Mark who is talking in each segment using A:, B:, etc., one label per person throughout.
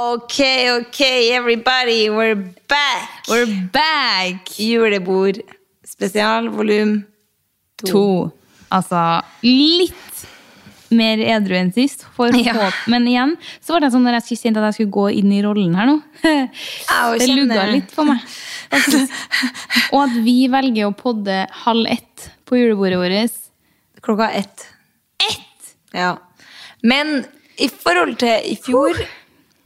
A: Ok, ok, everybody, we're back!
B: We're back!
A: Julebord spesial, volum
B: To. Altså litt mer edru enn sist. For
A: Ja.
B: håp. Men igjen så var det sånn når jeg skulle kjente at jeg skulle gå inn i rollen her nå.
A: Au,
B: det
A: kjenner.
B: lugga litt for meg. faktisk. Og at vi velger å podde halv ett på julebordet vårt.
A: Klokka ett. Ja. Men i forhold til i fjor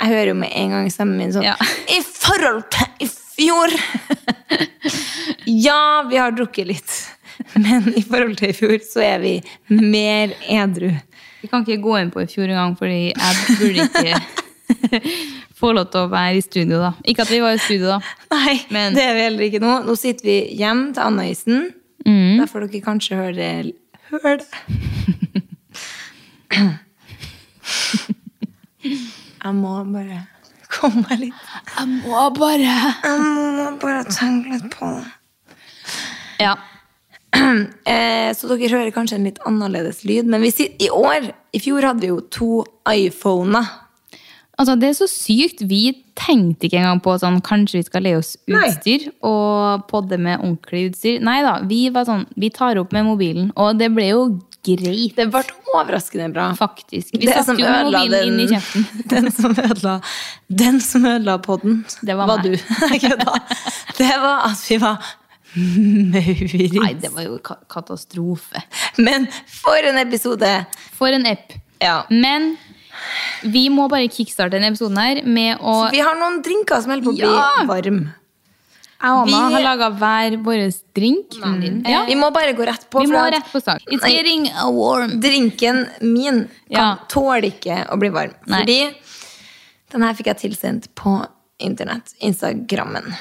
A: Jeg hører jo med en gang stemmen min sånn
B: Ja.
A: I forhold til i fjor! ja, vi har drukket litt. Men i forhold til i fjor så er vi mer edru.
B: Vi kan ikke gå inn på i fjor engang, fordi jeg burde ikke få lov til å være i studio da. Ikke at vi var i studio da.
A: Nei,
B: Men-
A: det er vi heller ikke nå. Nå sitter vi hjemme til Anna-isen. Derfor dere kanskje hører Hør det. Jeg må bare komme meg litt
B: Jeg må bare
A: Jeg må bare tenke litt på det.
B: Ja.
A: Eh, Så dere hører kanskje en litt annerledes lyd, men vi sit- i år I fjor hadde vi jo to iPhoner.
B: Altså, det er så sykt. Vi tenkte ikke engang på sånn, kanskje vi skal le oss
A: Nei.
B: utstyr og podde med ordentlig utstyr. Nei da, vi var sånn, vi tar opp med mobilen, og det ble jo greit,
A: Det ble overraskende bra.
B: faktisk. Vi
A: Det
B: satte
A: som
B: jo
A: ødela
B: mobilen inn i kjeften.
A: Den som ødela, den som ødela podden,
B: Det var meg.
A: du. Jeg kødda. det var at vi var
B: Nei,
A: maurits.
B: det var jo ka katastrofe.
A: Men for en episode!
B: For en app.
A: Ja.
B: Men vi må bare kickstarte denne episoden her med å
A: Vi har noen drinker som holder på å bli
B: Ja!
A: varm.
B: Jeg og Anna
A: vi-
B: har laga hver vår drink. Mm. Ja.
A: Eh, Vi må bare gå rett på.
B: Vi
A: for
B: må
A: at
B: rett på sak. It's
A: Nei.
B: getting warm.
A: Drinken min kan
B: Ja.
A: tåler ikke å bli varm.
B: Nei.
A: Fordi den her fikk jeg tilsendt på internett. Instagrammen.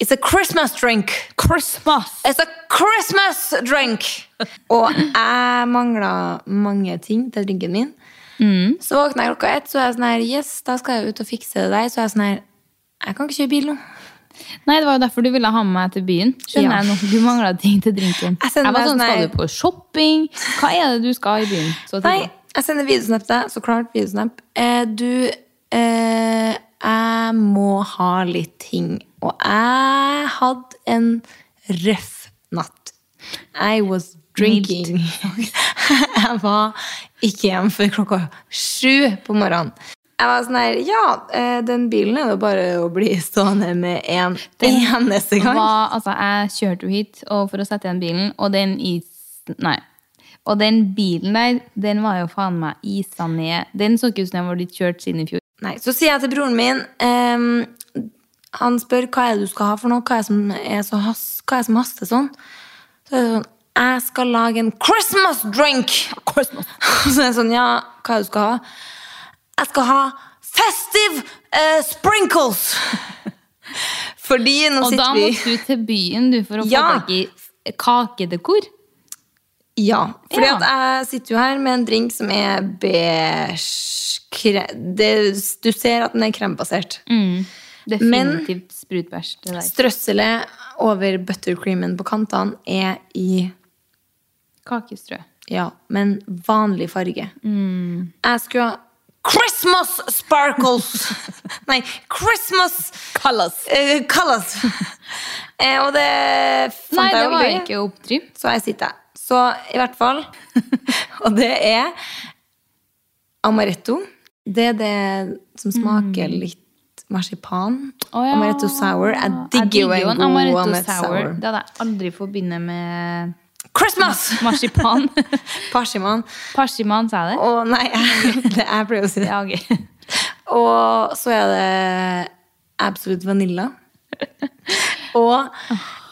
A: It's a Christmas drink!
B: Christmas!
A: It's a Christmas drink! Og jeg mangla mange ting til drinken min.
B: Mm.
A: Så våkna jeg klokka ett, så er jeg sånn her Yes, da skal jeg ut og fikse det der. Så er jeg sånn her Jeg kan ikke kjøre bil nå.
B: Nei, det var jo derfor du ville ha med meg til byen. Skjønner
A: Ja.
B: jeg nå, Du mangla ting til drinken.
A: Jeg
B: Jeg,
A: sender
B: var
A: deg
B: sånn,
A: sånn
B: skal
A: her-
B: du på shopping? Hva er det du skal i byen? Så
A: Nei,
B: tidlig.
A: jeg sender videosnap til deg. Så klart videosnap. Eh, du eh, Jeg må ha litt ting. Og jeg hadde en røff natt. I was drinking. jeg var ikke hjemme før klokka sju på morgenen. Jeg var sånn her Ja, eh, den bilen er det bare å bli stående med en eneste gang.
B: Hva- altså, jeg kjørte jo hit og for å sette igjen bilen, og den is... Nei. Og den bilen der, den var jo faen meg isa ned. Den så ikke ut som den var blitt kjørt siden i fjor.
A: Nei, Så sier jeg til broren min ehm, Han spør hva er det du skal ha for noe, hva er det som, er så has, hva er det som haster sånn. Så er det sånn Jeg skal lage en Christmas drink! Så er jeg sånn Ja, hva er det du skal ha? Jeg skal ha festive eh, sprinkles! Fordi nå
B: Og da
A: sitter vi
B: måtte du til byen du, for å
A: Ja.
B: få tak i kakedekor.
A: Ja. Fordi
B: Ja.
A: at jeg sitter jo her med en drink som er beige kre, det, Du ser at den er krembasert.
B: Mm. Definitivt sprutbæsj. Det der.
A: Strøsselet over buttercreamen på kantene er i
B: Kakestrø.
A: ja, men vanlig farge.
B: Mm.
A: Jeg skulle ha Christmas sparkles! Nei, Christmas
B: Kallas.
A: eh, Kallas! eh, og det fant
B: Nei, det
A: jeg
B: var
A: aldri.
B: ikke oppdriv.
A: Så her sitter jeg. Så i hvert fall Og det er amaretto. Det er det som smaker litt marsipan.
B: Mm. Å ja.
A: Amaretto sour. Jeg digger jo en god amaretto, sour.
B: Det hadde jeg aldri forbindet med
A: Christmas!
B: marsipan.
A: Parsiman.
B: Parsiman, sa jeg det?
A: Og nei, jeg, det, jeg pleier å si det.
B: Ja, ok.
A: Og så er det Absolute Vanilla. Og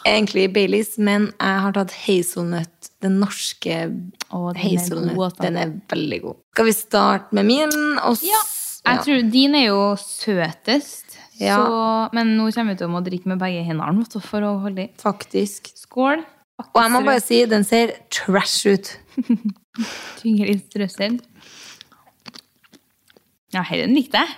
A: egentlig Baileys, men jeg har tatt hazelnøtt. Den norske
B: Å, den er god,
A: hazelnøtt.
B: altså.
A: Den er veldig god. Skal vi starte med min? Og s-
B: Ja. Jeg tror din er jo søtest.
A: Ja.
B: Så, men nå kommer vi til å må drikke med begge hendene vet du, for å holde i.
A: Faktisk.
B: Skål.
A: Og jeg må bare si, den ser trash ut.
B: Tyngre i strøssel. Ja, herren likte jeg.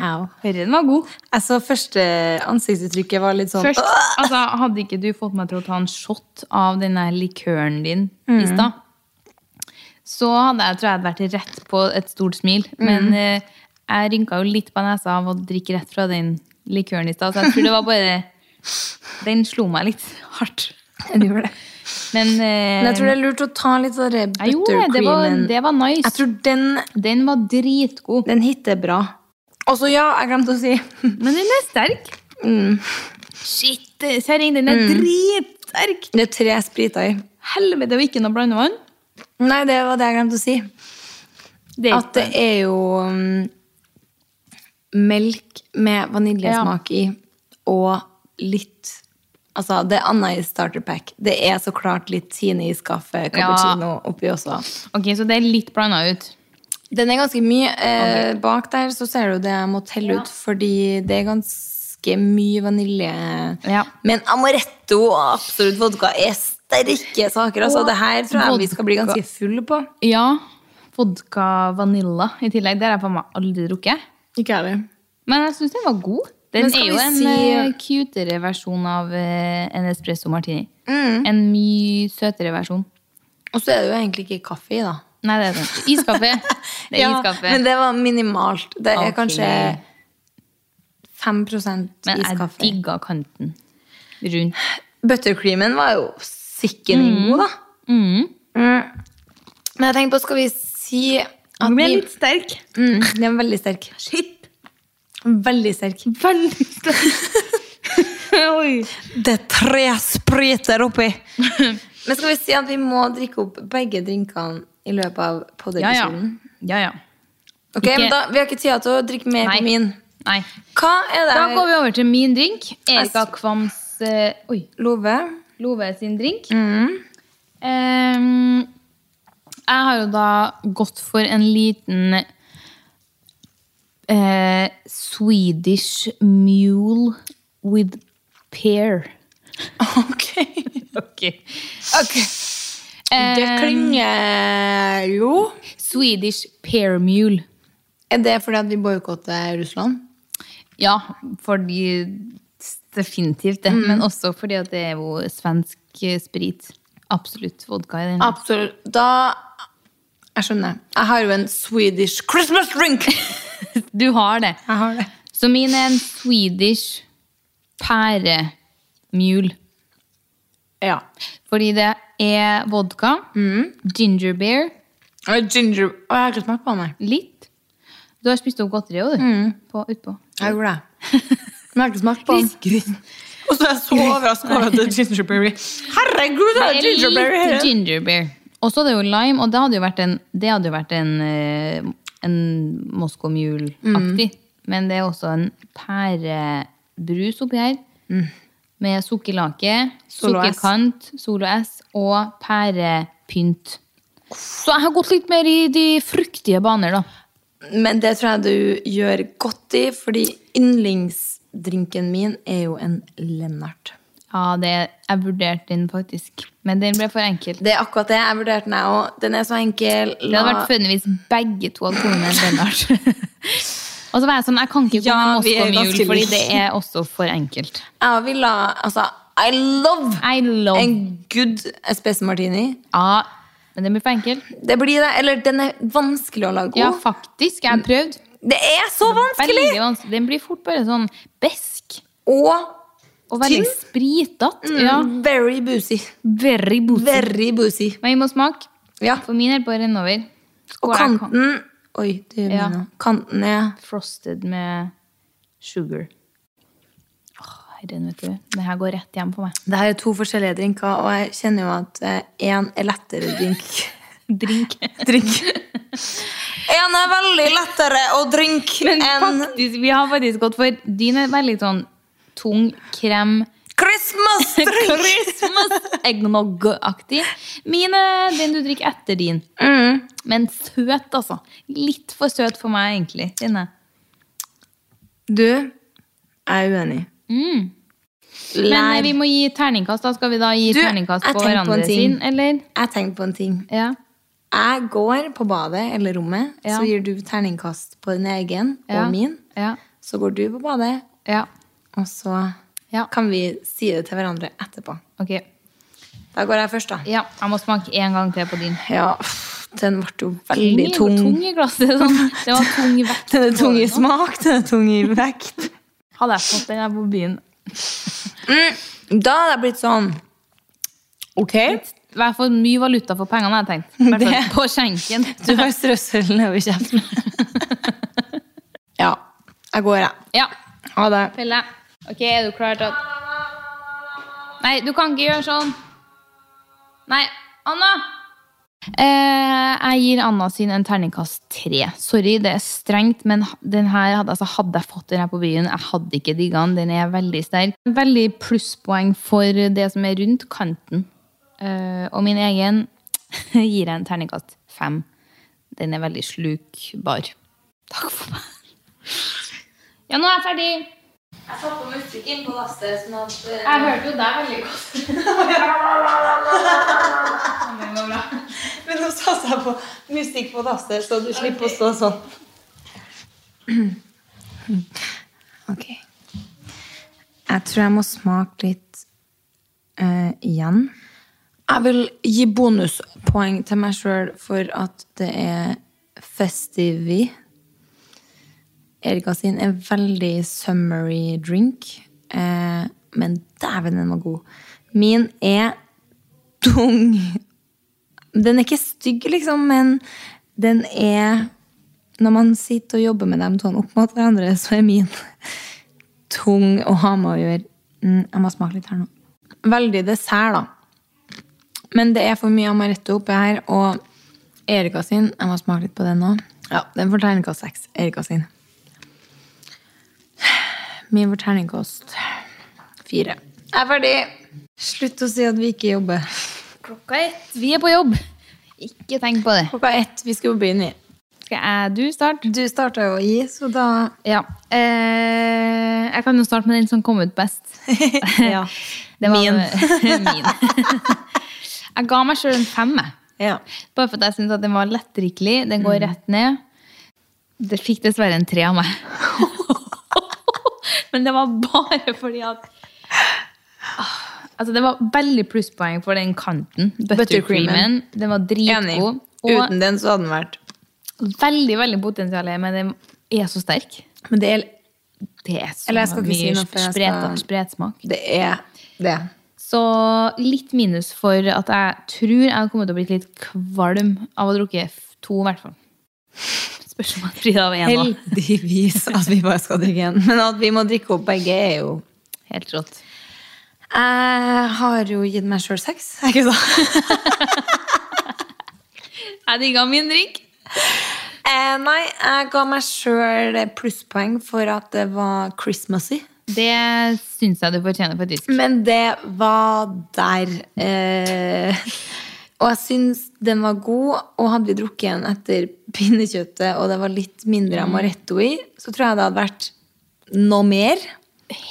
A: Au.
B: Herren var god.
A: Jeg så første ansiktsuttrykket var litt sånn
B: Først, altså, hadde ikke du fått meg til å ta en shot av den der likøren din i
A: Mm.
B: stad,
A: Mm.
B: så hadde jeg tror jeg hadde vært rett på et stort smil. Men eh, jeg rynka jo litt på nesa av å drikke rett fra den likøren i stad, så jeg tror det var bare Den slo meg litt hardt.
A: Du gjorde det.
B: Men,
A: Men
B: eh,
A: jeg tror det er lurt å ta litt av den
B: jeg gjorde det. Det var,
A: buttercreamen.
B: det var nice.
A: Jeg tror den,
B: Den var dritgod.
A: den hitter bra. Og så, ja, jeg glemte å si
B: Men den er sterk.
A: Mm.
B: Shit, kjerring, den er dritsterk!
A: Det er tre spriter i.
B: Helvete, og ikke noe blandevann.
A: Nei, det var det jeg glemte å si.
B: Det er
A: At det er jo mm, melk med vaniljesmak i, og litt Altså, det er annet i starter pack. Det er så klart litt Tine i skaffet, cappuccino oppi også.
B: Ok, så det er litt blanda ut.
A: Den er ganske mye. Eh, Bak der så ser du det jeg må telle ut, fordi det er ganske mye vanilje.
B: Ja.
A: Men amaretto og absolutt vodka er sterke saker. Altså,
B: Og
A: det her tror jeg vi skal bli
B: vodka.
A: ganske fulle på.
B: Ja. Vodka vanilla i tillegg. Det har jeg faen meg aldri drukket.
A: Ikke jeg heller.
B: Men jeg syns den var god. Den
A: Men skal
B: er jo
A: vi
B: en
A: si-
B: eh, cutere versjon av eh, en espresso martini. En mye søtere versjon.
A: Og så er det jo egentlig ikke kaffe i, da.
B: Nei, det er den. Iskaffe. Det er iskaffe.
A: Men det var minimalt. Det er
B: Ok.
A: kanskje 5
B: Men jeg
A: iskaffe.
B: digga kanten rundt.
A: Buttercreamen var jo sikkende god, da. Mm. Men jeg tenker på, skal vi si at
B: Den ble
A: vi-
B: litt sterk.
A: mm, Den er veldig sterk.
B: Shit.
A: Veldig sterk.
B: Veldig sterk. Oi.
A: Det er tre spriter oppi! Men skal vi si at vi må drikke opp begge drinkene i løpet av
B: Ja, ja.
A: podiepisoden?
B: ja, ja.
A: Ok,
B: Ikke-
A: men da, Vi har ikke tid til å drikke mer
B: Nei.
A: på min.
B: Nei.
A: Hva er det
B: Da går vi over til min drink. Erika Kvams eh, Oi.
A: Love?
B: Love sin drink.
A: Mm.
B: Ehm, jeg har jo da gått for en liten eh, Swedish mule with pear.
A: Ok.
B: Ok. Ehm,
A: Det klinger jo.
B: Swedish pear mule.
A: Er det fordi at vi boikotter Russland?
B: Ja, fordi definitivt det. Men også fordi at det er jo svensk eh, sprit. Absolutt vodka i den.
A: Absolutt. Da Jeg skjønner. Jeg har jo en Swedish Christmas drink!
B: Du har det.
A: Jeg har det.
B: Så min er en Swedish pæremjul.
A: Ja.
B: Fordi det er vodka, ginger beer,
A: Og Ginger Å, jeg har ikke smakt på den, nei.
B: litt. Du har spist opp godteri også, du. På, utpå.
A: Jeg gjorde det. Men jeg har ikke smakt på den. Og så er jeg så overraska over at det er gingerberry. Herregud, det er gingerberry!
B: Litt ginger beer. Og så er det jo lime, og det hadde jo vært en, det hadde jo vært en, eh, en Moscow Mule-aktig. Men det er også en pærebrus oppi her. Med sukkerlake,
A: Solo S.
B: sukkerkant, Solo S og pærepynt. Så jeg har gått litt mer i de fruktige baner, da.
A: Men det tror jeg du gjør godt i, fordi yndlingsdrinken min er jo en Lennart.
B: Ja, det, jeg vurderte den faktisk, men den ble for enkel.
A: Det er akkurat det. Jeg vurderte den, jeg òg. Den er så enkel.
B: Det hadde
A: La-
B: vært funnet hvis begge to hadde kommet med en Lennart. og så var jeg sånn, jeg kan ikke
A: Ja,
B: komme med
A: vi er
B: Moskva Mule,
A: ganske
B: fordi
A: like.
B: det er også for enkelt.
A: Jeg vil ha Altså, I love
B: I love
A: en good espresso martini.
B: Ja, men det blir for enkelt.
A: Det blir det. Eller, den er vanskelig å lage god.
B: Ja, faktisk, jeg har prøvd.
A: Det er så vanskelig!
B: Veldig vanskelig. Den blir fort bare sånn besk,
A: Og
B: og veldig
A: Tynn? Mm.
B: spritet. Ja,
A: very boozy.
B: very booty.
A: Very boozy.
B: Men vi må smake.
A: Ja.
B: For min er bare renn over.
A: Og
B: Skål, jeg kan-
A: kanten Oi, det gjør
B: Ja.
A: meg noe. Kanten er
B: frosted med sugar. Åh, herren, vet du. Det her går rett hjem for meg.
A: Det her er to forskjellige drinker, og jeg kjenner jo at én er lettere drink.
B: Drink.
A: drink. Én er veldig lettere å drinke
B: Men
A: enn
B: faktisk, vi har faktisk gått for Din er veldig sånn tung, krem,
A: Christmas drink!
B: Christmas, eggnog-aktig. Min er den du drikker etter din.
A: Mm.
B: Men søt, altså. Litt for søt for meg, egentlig. Dine.
A: Du, jeg er uenig.
B: Mm. Men eh,
A: Lær.
B: vi må gi terningkast. Da skal vi da gi
A: Du,
B: terningkast
A: jeg
B: på
A: tenkte på en
B: hverandre
A: ting.
B: sin, eller?
A: Jeg tenker på en ting.
B: Ja.
A: Jeg går på badet eller rommet,
B: Ja.
A: så gir du terningkast på din egen
B: ja.
A: og min.
B: Ja.
A: Så går du på badet,
B: Ja.
A: og så
B: Ja.
A: kan vi si det til hverandre etterpå.
B: Ok.
A: Da går jeg først, da.
B: Ja, jeg må smake en gang til på din.
A: Ja, pff, Den ble jo veldig tung.
B: Tung i glasset. Sånn. Det var tung vekt.
A: Den er tung i
B: på det nå.
A: smak, den er tung i vekt.
B: Hadde jeg fått den her på byen
A: Mm, Da hadde jeg blitt sånn Ok.
B: I hvert fall mye valuta for pengene, har jeg tenkt. I hvert fall
A: Det-
B: På skjenken.
A: Du har strøssel nedover kjeften. ja. Jeg går, jeg.
B: Ja,
A: Ha det.
B: Pelle. Ok, er du klar til å Nei, du kan ikke gjøre sånn. Nei, Anna! Eh, jeg gir Anna sin en terningkast tre. Sorry, det er strengt, men den her hadde, altså, hadde jeg fått den her på byen, jeg hadde ikke digga den. Den er veldig sterk. Veldig plusspoeng for det som er rundt kanten. Eh, og min egen gir jeg en terningkast fem. Den er veldig slukbar. Takk for meg. Ja, nå er jeg ferdig.
A: Jeg satt på musikken på lasset, sånn at
B: Jeg hørte jo deg veldig godt.
A: Men nå satser jeg på musikk på dasset, så du slipper å stå sånn. Ok. Jeg tror jeg må smake litt eh, igjen. Jeg vil gi bonuspoeng til meg sjøl for at det er festivi. Erika sin er veldig summery drink, eh, men dæven, den var god. Min er tung den er ikke stygg, liksom, men den er Når man sitter og jobber med dem sånn opp mot hverandre, så er min tung å ha med å gjøre. Mm, jeg må smake litt her nå. Veldig dessert, da. Men det er for mye amaretto oppi her, og Erika sin Jeg må smake litt på den nå. Ja, den får terningkast seks. Erika sin. Min får terningkast fire. Jeg er ferdig! Slutt å si at vi ikke jobber.
B: Klokka ett. Vi er på jobb. Ikke tenk på det.
A: Klokka ett. Vi skulle begynne.
B: Skal jeg, du starte?
A: Du starta jo å gi, så da
B: Ja. Eh, jeg kan jo starte med den som kom ut best.
A: ja.
B: Det var-
A: Min.
B: min. Jeg ga meg sjøl en femme.
A: ja.
B: Bare for at jeg syntes at den var lettdrikkelig. Den går
A: Mm.
B: rett ned. Det fikk dessverre en tre av meg. Men det var bare fordi at Ah, Altså, det var veldig plusspoeng for den kanten. Buttercreamen.
A: Buttercreamen.
B: Den var
A: Enig.
B: dritgod. Og
A: Uten den så hadde den vært
B: veldig, veldig potensial, i, men den er så sterk.
A: Men det er,
B: Det er så
A: Eller jeg skal ikke si
B: mye
A: noe, for jeg skal-
B: spret, spretsmak.
A: det er det.
B: Så litt minus for at jeg tror jeg hadde kommet til å bli litt kvalm av å drukke f- to, i hvert fall. Spørs om jeg Frida av én nå.
A: Heldigvis at vi bare skal drikke én. Men at vi må drikke opp begge, er jo
B: Helt rått.
A: Jeg har jo gitt meg sjøl sex, er ikke sant?
B: Jeg digga min drink.
A: Eh, nei, jeg ga meg sjøl plusspoeng for at det var Christmassy.
B: Det syns jeg du fortjener, faktisk.
A: Men det var der. Eh, og jeg syns den var god, og hadde vi drukket den etter pinnekjøttet, og det var litt mindre
B: Mm.
A: amaretto i, så tror jeg det hadde vært noe mer.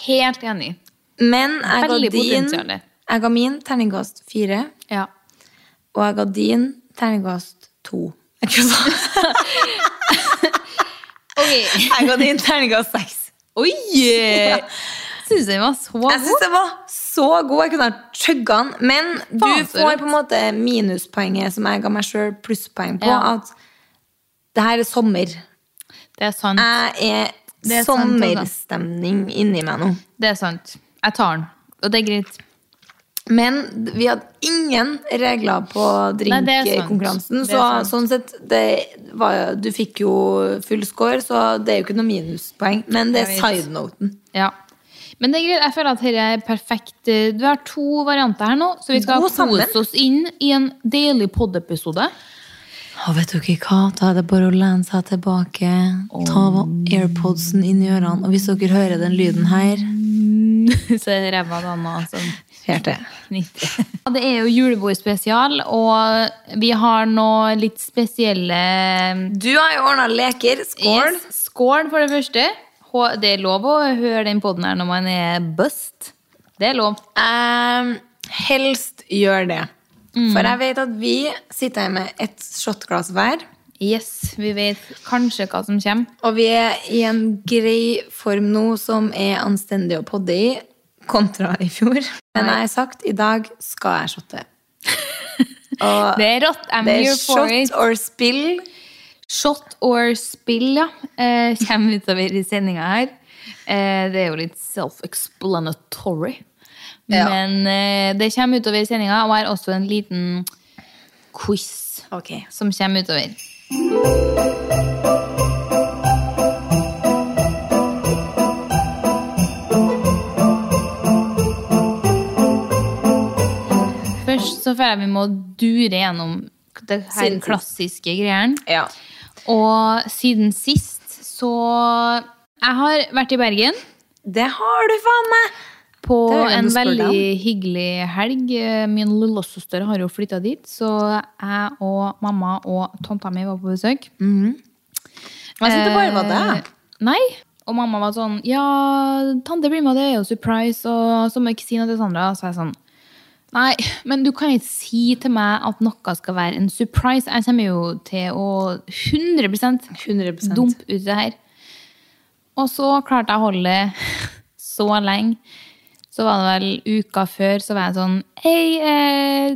B: Helt enig.
A: Men jeg ga,
B: Veldig
A: din,
B: potensiale.
A: jeg ga min terningkast fire,
B: Ja.
A: og jeg ga din terningkast to. Ikke sant?
B: Ok.
A: Jeg ga din terningkast seks.
B: Oi! Syns den var så
A: Jeg syns
B: god.
A: den var så god. Jeg kunne ha chugga den. Men
B: Faen,
A: du
B: så
A: får
B: rått.
A: på en måte minuspoenget som jeg ga meg sjøl plusspoeng på.
B: Ja.
A: At det her er sommer.
B: Det er sant.
A: Jeg er,
B: Det er sant, altså.
A: sommerstemning inni meg nå.
B: Det er sant. Jeg tar den. Og det er greit.
A: Men vi hadde ingen regler på
B: Nei, det er sant.
A: drinkkonkurransen.
B: Det er
A: Så
B: sant.
A: sånn sett, det var, jo- du fikk jo full score, så det er jo ikke noe minuspoeng. Men det er
B: Jeg vet.
A: sidenoten.
B: Ja. Men det er greit. Jeg føler at dette er perfekt. Du har to varianter her nå, så vi skal
A: God sammen.
B: kose oss inn i en deilig poddepisode.
A: Og vet dere hva? Da er det bare å lene seg tilbake, ta airpodsen inn i ørene, og hvis dere hører den lyden her
B: Så er det ræva dama som
A: Fjert det.
B: knytter. Ja, Det er jo julebordspesial, og vi har nå litt spesielle eh,
A: Du har jo ordna leker. Skål!
B: Yes, skål for det første. Hå- Det er lov å høre den podden her når man er bust. Det er lov.
A: Ehm, helst gjør det. For jeg vet at vi sitter her med et shotglass hver,
B: Yes, vi vet kanskje hva som kommer.
A: og vi er i en grei form nå som er anstendig å podde i, kontra i fjor. Men jeg har sagt i dag skal jeg shotte. Og
B: Det er rått. I'm
A: det er
B: here for it.
A: shot or spill.
B: Shot or spill, ja. Eh, kommer utover i sendinga her. Eh, det er jo litt self-explanatory.
A: Ja.
B: Men eh, det kommer utover i sendinga, og jeg har også en liten quiz
A: Ok.
B: som kommer utover. Først så føler jeg vi må dure gjennom det her
A: Siden sist.
B: klassiske greiene.
A: Ja.
B: Og siden sist så Jeg har vært i Bergen
A: Det har du faen meg!
B: på
A: Det er jo
B: en
A: noe å spørre deg om.
B: veldig hyggelig helg. Min lillesøster har jo flytta dit, så jeg og mamma og tanta mi var på besøk.
A: Mhm. Jeg synes det bare var
B: Eh,
A: det.
B: Nei. Og mamma var sånn Ja, tante blir med, det er jo surprise, og så må jeg ikke si noe til Sandra. Så jeg sånn Nei, men du kan ikke si til meg at noe skal være en surprise. Jeg kommer jo til å 100
A: 100
B: dump ut det her. Og så klarte jeg å holde det så lenge. Så var det vel uka før, så var jeg sånn Hei, eh,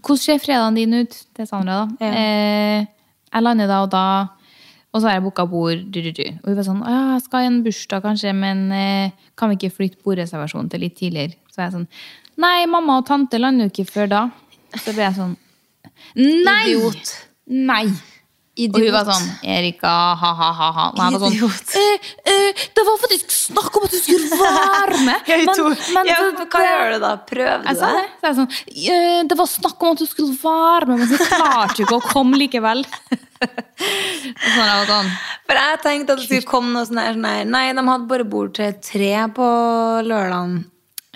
B: hvordan ser fredagen din ut? Til Sandra, da.
A: Ja.
B: Eh, jeg lander da og da, og så har jeg booka bord. Du, du, du. Og hun var sånn Å ja, jeg skal i en bursdag, kanskje, men eh, kan vi ikke flytte bordreservasjonen til litt tidligere? Så var jeg sånn Nei, mamma og tante lander jo ikke før da. Så ble jeg sånn Nei!
A: Idiot.
B: Nei!
A: Idiot.
B: Og hun var sånn Erika, ha-ha-ha. Nei, jeg var
A: Idiot.
B: sånn eh, eh, Det var faktisk snakk om at du skulle være med!
A: Jeg tror, ja,
B: det-
A: hva gjør du da? Prøver du
B: Jeg sa det. Så jeg sånn, «Eh, det var snakk om at du skulle være med, men så klarte du ikke å komme likevel. Og så var jeg sånn,
A: For jeg tenkte at det skulle komme noe sånn her, sånn her Nei, de hadde bare bord til tre på lørdagen.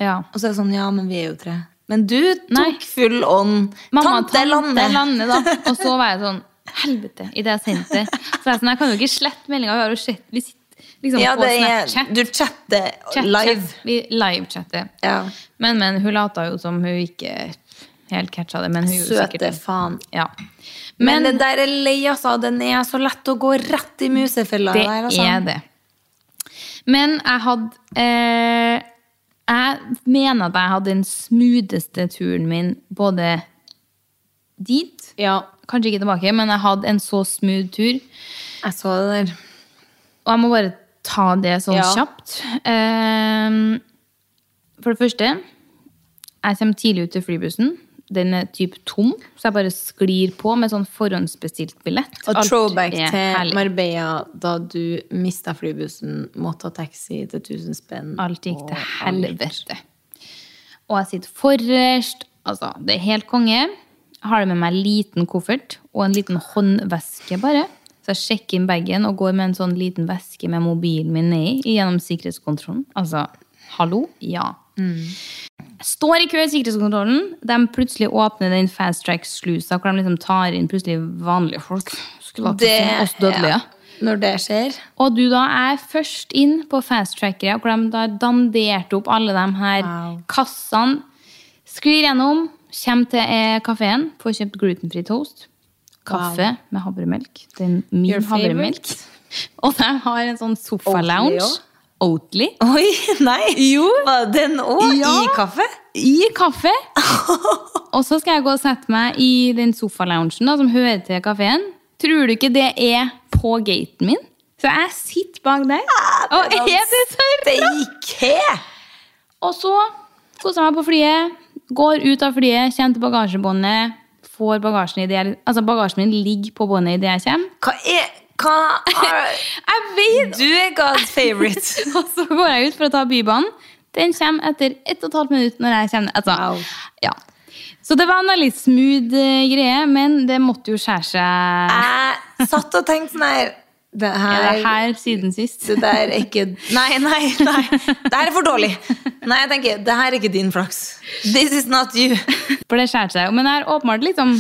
B: ja.
A: Og så er det sånn, ja, men vi er jo tre. Men du tok
B: Nei.
A: full ånd.
B: Mamma,
A: tante Lande.
B: Lande, da. Og så var jeg sånn Helvete! I det jeg sendte det. Så jeg, er sånn, jeg kan jo ikke slette meldinga. Vi har jo sett Vi sitter liksom
A: Ja,
B: på
A: det er,
B: Snapchat.
A: du chatter
B: Chat,
A: live.
B: chat. Vi livechatter.
A: Ja.
B: Men, men hun lata jo som hun ikke helt catcha det. Men hun gjorde sikkert
A: Søte
B: det.
A: faen.
B: Ja.
A: Men,
B: Men,
A: det der er lei, altså. Den er så lett å gå rett i musefella.
B: det,
A: der, altså.
B: er det. Men jeg hadde eh, Jeg mener at jeg hadde den smootheste turen min både dit Kanskje ikke tilbake, men jeg hadde en så smooth tur.
A: Jeg så det der.
B: Og jeg må bare ta det sånn
A: Ja.
B: kjapt. Ehm, for det første, jeg kommer tidlig ut til flybussen. Den er typ tom, så jeg bare sklir på med sånn forhåndsbestilt billett.
A: Og
B: Alt
A: throwback
B: er
A: til
B: herlig.
A: Marbella da du mista flybussen, måtte ta taxi til 1000 spenn.
B: Mm. Alt gikk til
A: og-
B: helvete. Og jeg sitter forrest. Altså, det er helt konge. Jeg har med meg en liten koffert og en liten håndveske bare. Så jeg sjekker inn bagen og går med en sånn liten veske med mobilen min nedi gjennom sikkerhetskontrollen. Altså, hallo? Ja. Mm. Jeg står i kø i sikkerhetskontrollen. De plutselig åpner den fast track-slusa hvor de liksom tar inn plutselig vanlige folk. Skulle
A: Det,
B: akkurat som oss dødelige.
A: ja. Når det skjer
B: Og du da er først inn på fast-trackere, hvor de da danderte opp alle de her
A: Wow.
B: kassene. Sklir gjennom, kommer til eh, kafeen, får kjøpt glutenfri toast. Kaffe med havremelk. Den
A: Your
B: min
A: favorite?
B: havremelk. Og de har en sånn
A: Oatly
B: sofa-lounge.
A: også?
B: Oatly.
A: Oi, nei! Var den òg
B: Ja.
A: i kaffe?
B: I kaffe. Og så skal jeg gå og sette meg i den sofa-loungen da, som hører til kafeen. Tror du ikke det er på gaten min? Så jeg sitter bak der. Og er Ah, det så
A: Steike!
B: Og så koser jeg meg på flyet, går ut av flyet, kommer til bagasjebåndet, får bagasjen i det jeg, Altså, bagasjen min ligger på båndet idet jeg kommer.
A: Hva er Hva er
B: Jeg vet!
A: Du er God's favorite.
B: Og så går jeg ut for å ta Bybanen. Den kommer etter 1 12 minutter når jeg kommer. Altså,
A: Wow.
B: ja. Så det var en litt smooth eh, greie, men det måtte jo skjære seg
A: Jeg satt og tenkte sånn her Det
B: Er
A: her,
B: det her siden sist.
A: det der er ikke Nei, nei, nei. Det her er for dårlig. Nei, jeg tenker, det her er ikke din flaks. This is not you.
B: For det skjærte seg jo. Men jeg har åpenbart liksom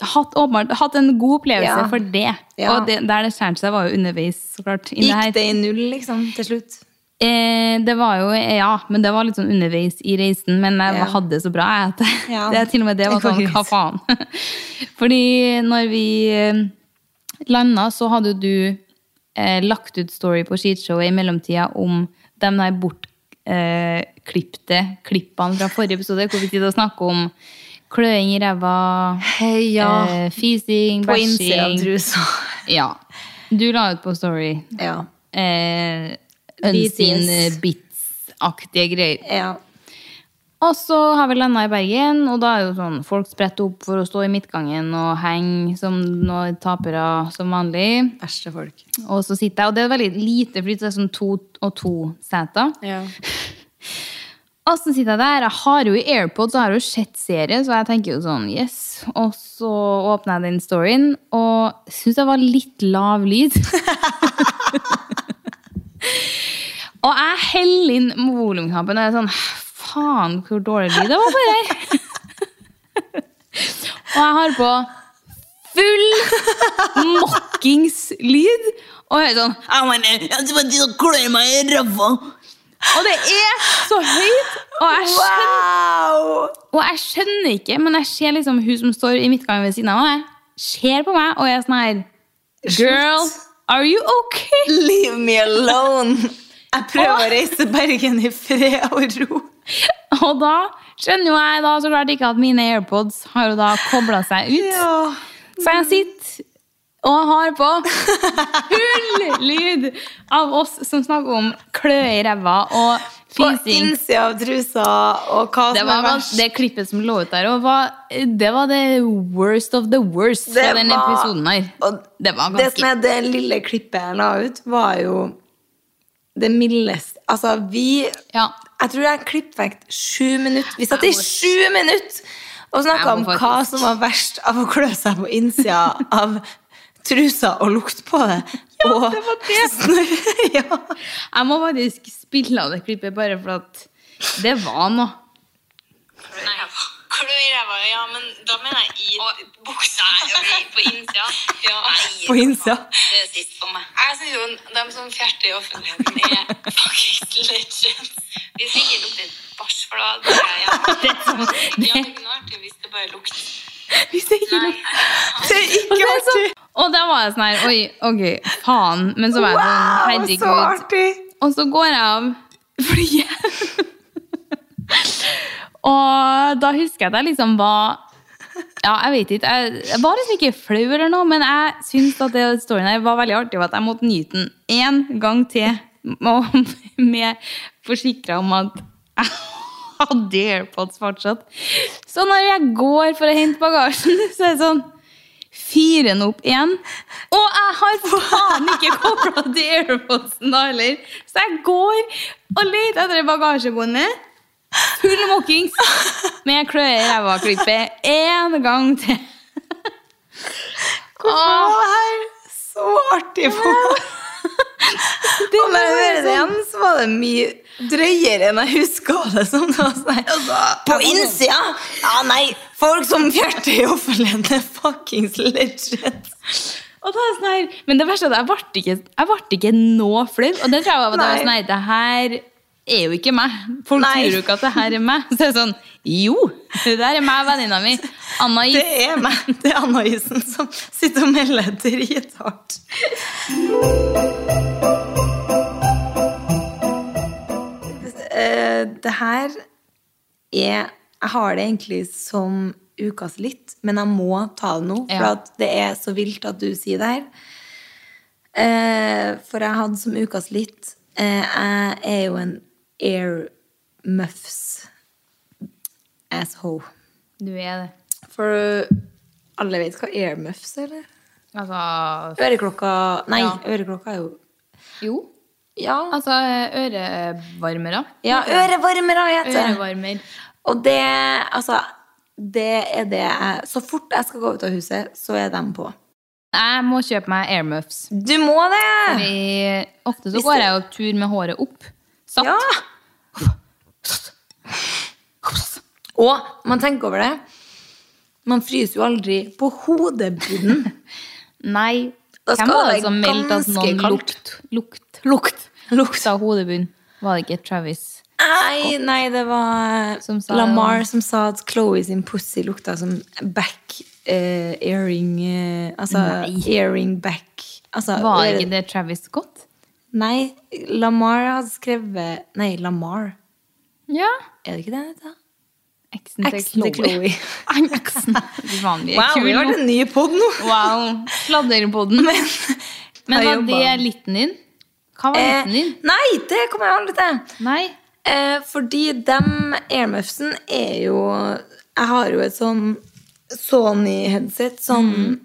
B: hatt, åpenbart, hatt en god opplevelse
A: Ja.
B: for det.
A: Ja.
B: Og det, der det skjærte seg, var jo underveis, så klart. i det her.
A: Gikk det i null, liksom, til slutt?
B: Eh, det var jo, ja, men det var litt sånn underveis i reisen, men jeg
A: Ja.
B: hadde det så bra. Jeg, at
A: Ja.
B: det, til og med det var
A: Det går
B: sånn,
A: greit.
B: hva faen? Fordi når vi eh, landa, så hadde jo du eh, lagt ut story på skishowet i mellomtida om de der bortklipte eh, klippte klippene fra forrige episode, hvor vi sitter og snakker om Kløing i ræva.
A: Heia
B: Eh, fising,
A: på innsida av
B: bæsjing.
A: trusa.
B: Ja. Du la ut på Story
A: Ja.
B: eh,
A: BTS.
B: unseen eh, bits-aktige greier.
A: ja.
B: Og så har vi landa i Bergen, og da er jo sånn folk spretter opp for å stå i midtgangen og henge som noen tapere som vanlig.
A: Verste folk.
B: Og så sitter jeg, og det er veldig lite, fordi det er sånn to og to seter.
A: Ja.
B: Og så sitter jeg der, jeg har jo i AirPods, og har jo sett serie, så jeg tenker jo sånn, yes. Og så åpner jeg den storyen, og synes jeg var litt lav lyd. og jeg heller inn volumknappen, og jeg er sånn, faen, hvor dårlig lyd det var på det her. og jeg har på full mokkingslyd, og jeg er sånn, I wanna, I wanna klø meg i ræva. Og det er så høyt! Og jeg, skjønner,
A: Wow!
B: og jeg skjønner ikke, men jeg ser liksom hun som står i midtgangen ved siden av meg, ser på meg, og jeg er sånn her Girl, are you okay?
A: Leave me alone! Jeg prøver å reise til Bergen i fred og ro.
B: Og da skjønner jo jeg da så klart ikke at mine AirPods har jo da kobla seg ut.
A: Ja.
B: Så jeg sitter og har på full lyd av oss som snakker om klø i ræva og
A: På
B: fising.
A: innsida av trusa og hva
B: Det,
A: som
B: var,
A: er verst.
B: det klippet som lå ut der, og var, det var det worst of the worst
A: Det
B: fra den
A: var-
B: episoden her.
A: og
B: Det var
A: Det som
B: ganske
A: er det lille klippet jeg la ut, var jo det mildeste Altså, vi
B: Ja.
A: Jeg tror jeg klippet vekk sju minutter. Vi satt i
B: Jeg må-
A: sju minutter og snakka
B: Jeg
A: om
B: må
A: hva
B: faktisk-
A: som var verst av å klø seg på innsida av trusa og lukte på det. Ja, og
B: det var det.
A: snørr- ja.
B: Jeg må faktisk spille av det klippet, bare for at det var noe.
C: Nei, klø i ræva, ja, men da mener jeg i buksa. Nei, på innsida.
A: På innsida.
C: Det er sist for meg. Jeg synes jo de som fjerter i offentligheten er faktisk legends. Hvis det ikke lukter bæsj, for da dør jeg hjemme.
B: Det er sånn-
C: Ja, det
B: det-
C: kunne vært det hvis det bare lukter.
A: Hvis jeg ikke
C: Nei.
A: lukter Det er
B: Og det
A: ikke
B: er
A: artig!
B: sånn- Og da var jeg sånn her Oi, ok, faen. Men så var jeg sånn
A: Wow, så
B: Herregud.
A: artig!
B: Og så går jeg av flyet. og da husker jeg at jeg liksom var Ja, jeg vet ikke. Jeg, jeg var liksom ikke flau eller noe, men jeg syns at det storyen her var veldig artig, og at jeg måtte nyte den én gang til. Og med forsikra om at jeg hadde AirPods fortsatt. Så når jeg går for å hente bagasjen, så er det sånn Fire den opp igjen. Og jeg har faen ikke kobla til AirPodsen da heller! Så jeg går og leter etter bagasjebåndet. Full mokkings med kløe i ræva-klippet én gang til.
A: Hvorfor var det her så artig for meg? Og når jeg hører
B: sånn-
A: det igjen, så var det mye drøyere enn jeg huska det som. Det var sånn her, På innsida! Ja, nei, folk som fjerter i offentligheten er fuckings legends.
B: Og da er jeg sånn her, men det verste er at jeg ble ikke, jeg ble ikke nå flau. Og det tror jeg var at jeg var
A: Nei.
B: sånn her, det her er jo ikke meg. Folk
A: Nei.
B: tror jo ikke at det her er meg. Så jeg er sånn, jo, det der er meg og venninna mi. Anna
A: Det
B: Is.
A: er meg. Det er Anna Isen som sitter og melder drithardt. Eh, Det her er Jeg har det egentlig som ukas litt, men jeg må ta det nå, for
B: Ja.
A: at det er så vilt at du sier det her. Eh, For jeg hadde som ukas litt eh, Jeg er jo en air muffs asshole.
B: Du er det.
A: For alle vet hva airmuffs er, eller?
B: Altså,
A: Øreklokka Nei,
B: Ja.
A: øreklokka er jo
B: jo.
A: Ja,
B: Altså ørevarmere.
A: ja ørevarmere heter det.
B: Ørevarmer.
A: Og det Altså, det er det jeg Så fort jeg skal gå ut av huset, så er de på.
B: Jeg må kjøpe meg airmuffs.
A: Du må det!
B: Fordi Ofte så
A: Hvis
B: går
A: det-
B: jeg jo tur med håret opp. Satt.
A: Ja! Og man tenker over det. Man fryser jo aldri på hodebunnen.
B: Nei.
A: Da skal
B: Hvem var
A: det
B: det som
A: være
B: meldte at
A: ganske
B: noen lukt,
A: kaldt.
B: lukt, lukt, lukta hodebunn? Var det ikke Travis?
A: Nei, nei, det var
B: Som sa-
A: Lamar som sa at Chloé sin pussy lukta som back eh, earring eh, Altså earring back. Altså,
B: Var
A: øre-
B: ikke det Travis Scott?
A: Nei, Lamar hadde skrevet Nei, Lamar.
B: Ja.
A: Er det ikke det han heter?
B: Eksen til
A: Eksen til Chloe.
B: Eksen. De vanlige
A: Wow, vi
B: kule.
A: har den nye pod nå! Eh,
B: Wow. Sladderpodden. Men, men
A: Hei,
B: var det
A: Obama.
B: liten din? Hva var
A: Eh,
B: liten din?
A: nei, det kommer jeg aldri til.
B: Nei.
A: Eh, fordi dem airmuffsen er jo Jeg har jo et sånn Sony-headset sånn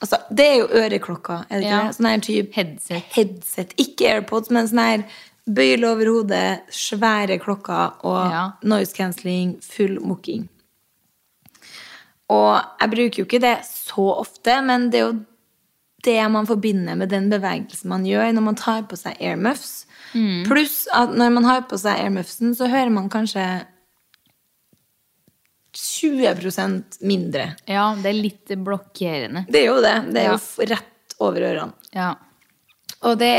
A: Altså, det er jo øreklokka, er det ikke
B: Mm. Ja.
A: det? Sånn her type
B: Headset.
A: headset. Ikke AirPods, men sånn her bøyle over hodet, svære klokker og
B: Ja.
A: noise cancelling, full mokking. Og jeg bruker jo ikke det så ofte, men det er jo det man forbinder med den bevegelsen man gjør når man tar på seg airmuffs.
B: Mm.
A: Pluss at når man har på seg airmuffsen, så hører man kanskje 20 mindre.
B: Ja, det er litt blokkerende.
A: Det er jo det. Det er
B: Ja.
A: jo f- rett over ørene.
B: Ja.
A: Og det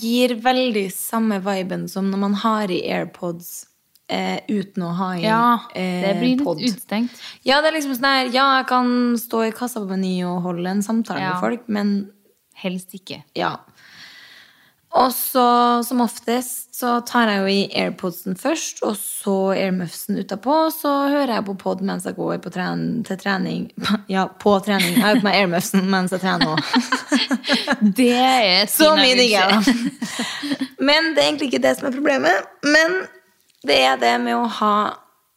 A: gir veldig samme viben som når man har i AirPods eh, uten å ha i
B: ja.
A: eh,
B: Mm. Det blir
A: pod.
B: litt utstengt.
A: Ja, det er liksom sånn her Ja, jeg kan stå i kassa på Meny og holde en samtale
B: Ja.
A: med folk, men
B: Helst ikke.
A: ja. Og så, som oftest, så tar jeg jo i AirPodsen først, og så AirMuffsen utapå, og så hører jeg på pod mens jeg går på tren til trening. Ja, på trening. Jeg har på meg AirMuffsen mens jeg trener òg.
B: Det er et
A: Så
B: fin
A: mye digger
B: øvelse.
A: jeg det. Men det er egentlig ikke det som er problemet. Men det er det med å ha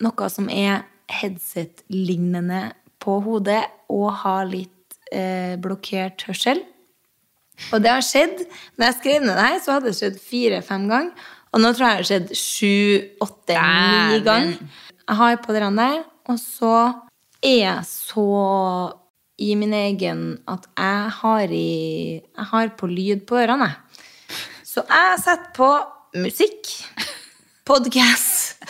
A: noe som er headset-lignende på hodet, og ha litt eh, blokkert hørsel. Og det har skjedd. Når jeg skrev ned det her, så hadde det skjedd fire-fem ganger. Og nå tror jeg det har skjedd sju, åtte, ni
B: Dæven.
A: ganger. Jeg har på den der, og så er jeg så i min egen at jeg har, i, jeg har på lyd på ørene. jeg. Så jeg setter på musikk, podkast,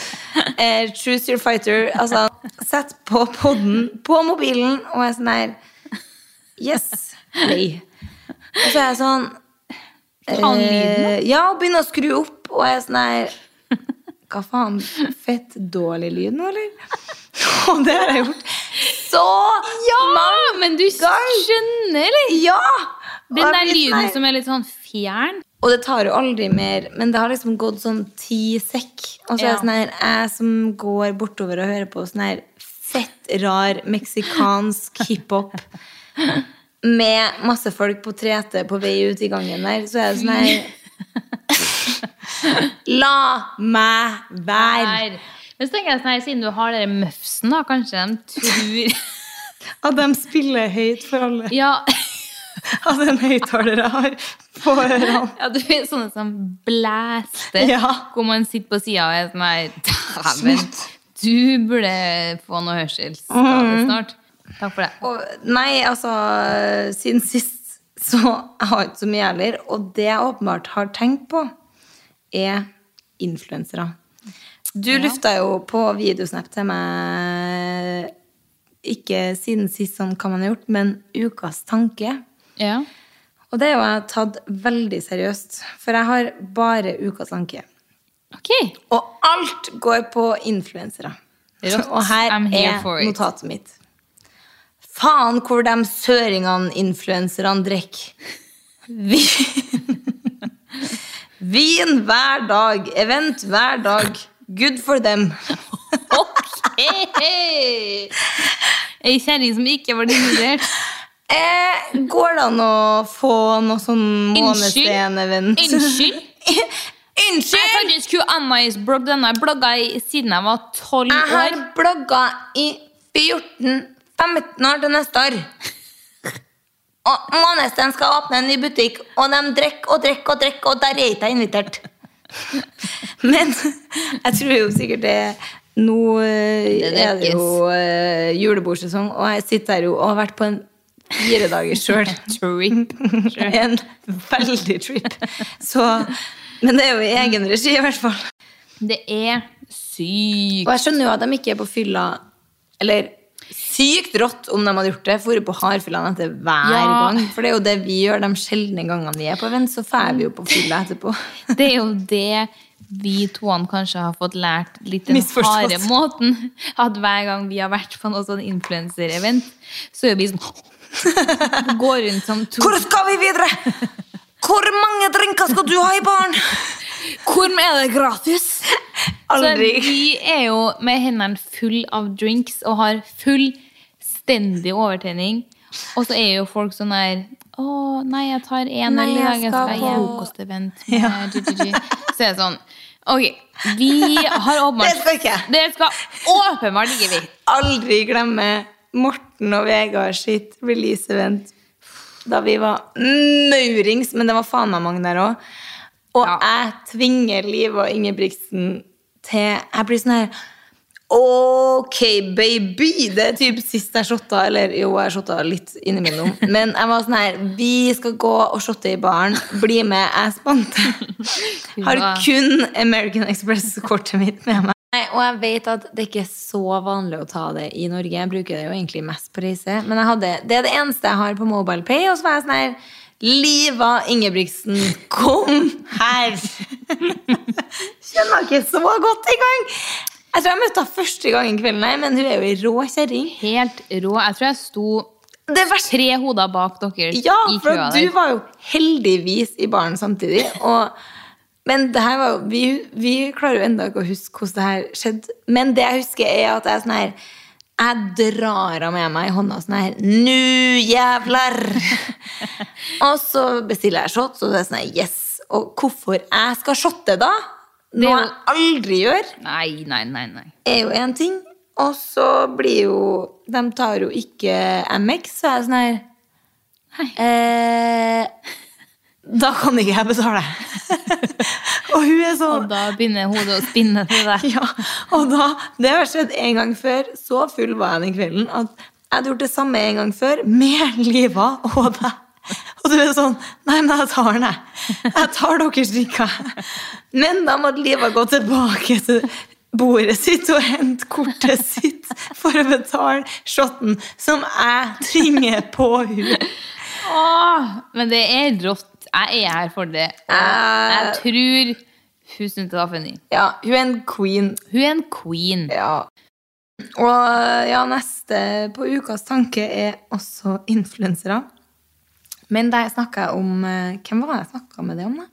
A: eh, Choose Your Fighter Altså, sett på podden på mobilen og er sånn her Yes. Play. Og så er jeg sånn
B: Kan lyden,
A: eh, Ja, og begynner å skru opp, og jeg er sånn her Hva faen? Fett dårlig lyd nå, eller? Og det har jeg gjort så mange
B: Ja, men du skjønner, eller?
A: Ja! Og
B: Den
A: jeg
B: der
A: blir sånn
B: lyden
A: her-
B: som er litt sånn fjern.
A: Og det tar jo aldri mer, men det har liksom gått sånn ti sekk. Og så er
B: Ja.
A: det sånn her, jeg som går bortover og hører på sånn her fett rar meksikansk hiphop med masse folk på 3T på vei ut i gangen der, så er det sånn her La meg være!
B: Her. Men så tenker jeg sånn her, siden du har den møfsen, da, kanskje de tror
A: At de spiller høyt for alle.
B: Ja,
A: At en høyttaler har på ørene.
B: ja du er sånne som blæster,
A: Ja.
B: hvor man sitter på sida og er sånn her Dæven, du burde få noe hørselsskade snart. Takk for det.
A: Og, nei, altså, siden sist så jeg har jeg ikke så mye heller. Og det jeg åpenbart har tenkt på, er influensere. Du lufta jo på videosnap til meg ikke siden sist sånn kan man ha gjort, men ukas tanke.
B: Ja.
A: Og det har jeg tatt veldig seriøst, for jeg har bare ukas tanke.
B: Ok.
A: Og alt går på influensere.
B: Rått.
A: Og her
B: I'm here
A: er
B: for it.
A: notatet mitt. Faen hvor de søringene influenserne drikker. Vin. Vin hver dag. Event hver dag. Good for them.
B: Ok! Ei kjerring som ikke var involvert.
A: Eh, går det an å få noe sånn månesten-event?
B: Unnskyld? Jeg
A: Unnskyld!
B: faktisk hun Anna i blogg, denne blogga i- siden jeg var tolv
A: Jeg har
B: år.
A: blogga i 14-15 år til neste år. Og Månesten skal åpne en ny butikk, og de drikker og drikker og drikker, og der er ikke jeg invitert. Men jeg tror jo sikkert det Nå eh,
B: Det
A: er det jo eh, julebordsesong, og jeg sitter her jo og har vært på en fire dager sjøl.
B: Trip.
A: En veldig trip. Så Men det er jo i egen regi, i hvert fall.
B: Det er sykt.
A: Og jeg skjønner jo at de ikke er på fylla Eller sykt rått om de hadde gjort det. Fore på hardfylla etter hver
B: Ja.
A: gang. For det er jo det vi gjør de sjeldne gangene vi er på event. Så drar vi jo på fylla etterpå.
B: Det er jo det vi toene kanskje har fått lært litt den
A: Misforstått.
B: harde måten. At hver gang vi har vært på noe sånn influenserevent, så er vi sånn Går rundt som to
A: Hvor skal vi videre? Hvor mange drinker skal du ha i baren?
B: Hvor er det gratis?
A: Aldri.
B: Så vi er jo med hendene full av drinks og har fullstendig overtenning. Og så er jo folk sånn der Å, nei, jeg tar én
A: Nei,
B: øl i dag. Jeg
A: jeg
B: skal på
A: skal på-
B: frokostevent. med GGG». Så er det sånn. Ok, vi har åpenbart
A: Det skal ikke.
B: Det skal åpenbart ikke vi.
A: Aldri glemme Morten og Vegard sitt release-event da vi var maurings, men det var faen meg mange der òg. Og
B: Ja.
A: jeg tvinger Liv og Ingebrigtsen til Jeg blir sånn her Ok, baby! Det er typ sist jeg shotta. Eller jo, jeg shotta litt innimellom. Men jeg var sånn her Vi skal gå og shotte i baren. Bli med. Jeg spant. Har
B: Ja.
A: kun American Express-kortet mitt med meg. Nei, og jeg vet at det ikke er så vanlig å ta det i Norge. Jeg bruker det jo egentlig mest på reise. Men jeg hadde, det er det eneste jeg har på MobilePay. Og så var jeg sånn her Liva Ingebrigtsen, kom her! Kjenner jeg ikke så godt engang! Jeg tror jeg møtte henne første gangen kvelden, her, men hun er jo ei rå kjerring.
B: Helt rå. Jeg tror jeg sto
A: Det verste
B: tre hoder bak dere
A: Ja,
B: i
A: for
B: køa
A: at
B: der.
A: du var jo heldigvis i baren samtidig. Og, men det her var jo vi, vi klarer jo enda ikke å huske hvordan det her skjedde. Men det jeg husker, er at jeg er sånn her jeg drar av med meg i hånda sånn her Nu, jævlar! og så bestiller jeg shots, og det er sånn her Yes! Og hvorfor jeg skal shotte, da?
B: er
A: Noe
B: jo-
A: jeg aldri gjør
B: Nei, nei, nei. nei.
A: er jo én ting. Og så blir jo De tar jo ikke MX, så er jeg sånn her eh, Da kan ikke jeg betale. og hun er
B: Og
A: sånn
B: da begynner hodet å spinne til deg.
A: ja, og da, Det har skjedd en gang før. Så full var jeg den kvelden at jeg hadde gjort det samme en gang før med Liva og deg. Og du er sånn Nei, men jeg tar den, jeg. Jeg tar deres drikker. Men da måtte Liva gå tilbake til bordet sitt og hente kortet sitt for å betale shotten som jeg tvinger på henne.
B: Åh, men det er rått. Jeg er her for det. Og jeg
A: Eh.
B: tror hun syntes det var funny.
A: Ja, hun er en queen.
B: Hun er en queen.
A: Ja. Og ja, neste på ukas tanke er også influensere. Men der snakka jeg om eh, Hvem var det jeg snakka med det om, da?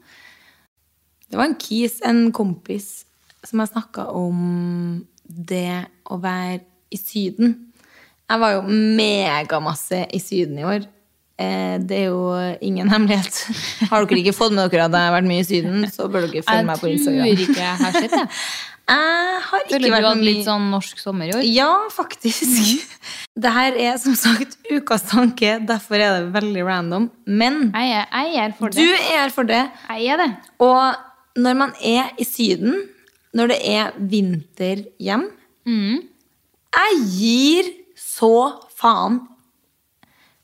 A: Det var en kis, en kompis, som jeg snakka om det å være i Syden. Jeg var jo megamasse i Syden i år. Eh, Det er jo ingen hemmelighet. Har dere ikke fått med dere at jeg har vært mye i Syden, så bør dere følge
B: Jeg
A: meg på
B: tror
A: Instagram.
B: ikke jeg har sett det.
A: Jeg har ikke
B: Føler du
A: vært
B: hadde
A: noe
B: litt
A: mye-
B: sånn norsk sommer i år?
A: ja,
B: Mhm.
A: faktisk. Det her er som sagt ukas tanke, derfor er det veldig random. Men
B: Jeg er, jeg er her for
A: du
B: det.
A: er her for det.
B: Jeg er det.
A: Og når man er i Syden, når det er vinter hjem
B: Mm.
A: Jeg gir så faen.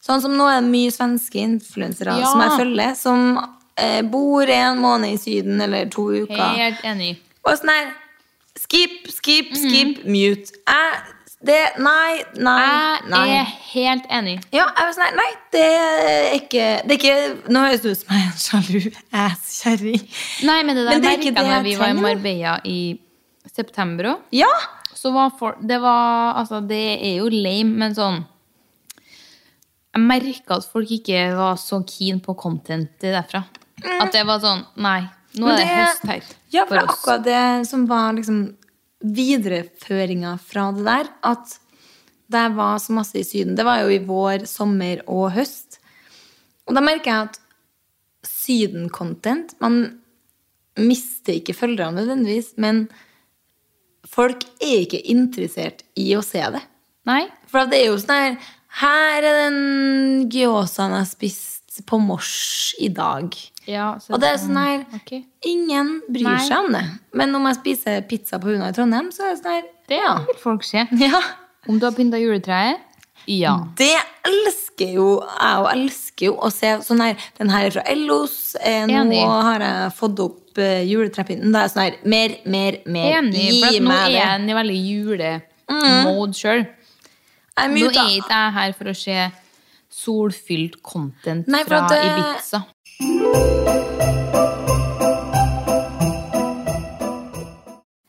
A: Sånn som nå er det mye svenske influensere
B: Ja.
A: som jeg følger, som eh, bor en måned i Syden eller to uker.
B: Helt enig.
A: Og sånn her Skip, skip, skip,
B: Mhm.
A: mute. Jeg, det, nei, nei, nei.
B: Jeg er helt enig.
A: Ja, jeg var sånn her, nei, det er ikke, det er ikke Nå høres det ut som jeg er en sjalu ass-kjerring.
B: Nei, men det der
A: Men det er ikke
B: merket jeg
A: det jeg
B: når vi var i
A: trenger, da.
B: Marbella i september òg.
A: Ja!
B: Så var for, det var Altså, det er jo lame, men sånn Jeg merka at folk ikke var så keen på content derfra. At det var sånn Nei, nå
A: Mm. men
B: er det, høst her.
A: Ja, for det er
B: for oss.
A: akkurat det som var liksom videreføringa fra det der. At det var så masse i Syden. Det var jo i vår, sommer og høst. Og da merker jeg at Syden-content Man mister ikke følgere nødvendigvis, men folk er ikke interessert i å se det.
B: Nei?
A: For det er jo sånn her Her er den gyozaen jeg spiste på mors i dag.
B: Ja, så-
A: Og det er sånn her
B: Ok.
A: Ingen bryr
B: Nei.
A: seg om det. Men om jeg spiser pizza på Huna i Trondheim, så er det sånn her
B: Det
A: ja.
B: vil folk se.
A: ja.
B: Om du har pynta juletreet? Ja.
A: Det elsker jo jeg, og elsker jo å se sånn her Den her er fra Ellos. Eh, nå
B: Enig.
A: har jeg fått opp eh, juletrepynten. Da er jeg sånn her Mer, mer, mer.
B: Enig, for at
A: Gi
B: nå
A: meg
B: er
A: det. Mm.
B: jeg i veldig julemode sjøl.
A: Jeg er
B: Nå er
A: muta.
B: ikke jeg her for å se solfylt content
A: Nei, for
B: fra
A: at eh, det-
B: Ibiza.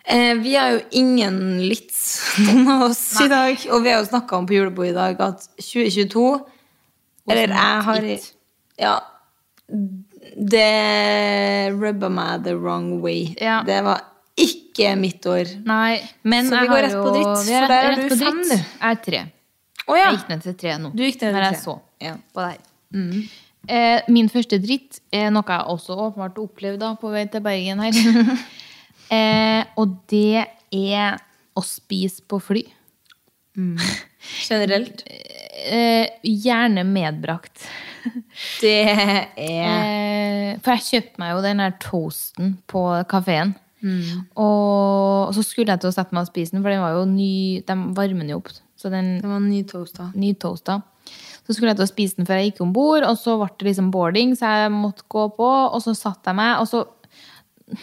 A: Eh, vi har jo ingen lits, noen av oss, i dag. Og vi har jo snakka om på julebord i dag at 2022 Eller jeg har
B: it.
A: Ja. Det rubba meg the wrong way.
B: Ja.
A: Det var ikke mitt år.
B: Nei, men
A: Så vi
B: jeg
A: går
B: har
A: rett på
B: jo-
A: dritt,
B: vi er
A: for der er
B: rett
A: du
B: på
A: fem,
B: dritt.
A: du.
B: Jeg er tre.
A: Å ja.
B: Jeg gikk ned til tre nå.
A: Du gikk ned til
B: når
A: tre.
B: jeg så
A: Ja.
B: på deg. Eh, min første dritt er noe jeg også åpenbart opplevde da, på vei til Bergen her. eh, og det er å spise på fly.
A: Generelt.
B: Eh, gjerne medbrakt.
A: Det er
B: Eh, for jeg kjøpte meg jo den her toasten på kafeen. Mm. Og så skulle jeg til å sette meg og spise den, for den var jo ny, de varmer den jo opp. Så den
A: Det var ny toast, da.
B: nytoasta. Så skulle jeg til å spise den før jeg gikk om bord, og så ble det liksom boarding, så jeg måtte gå på, og så satt jeg meg, og så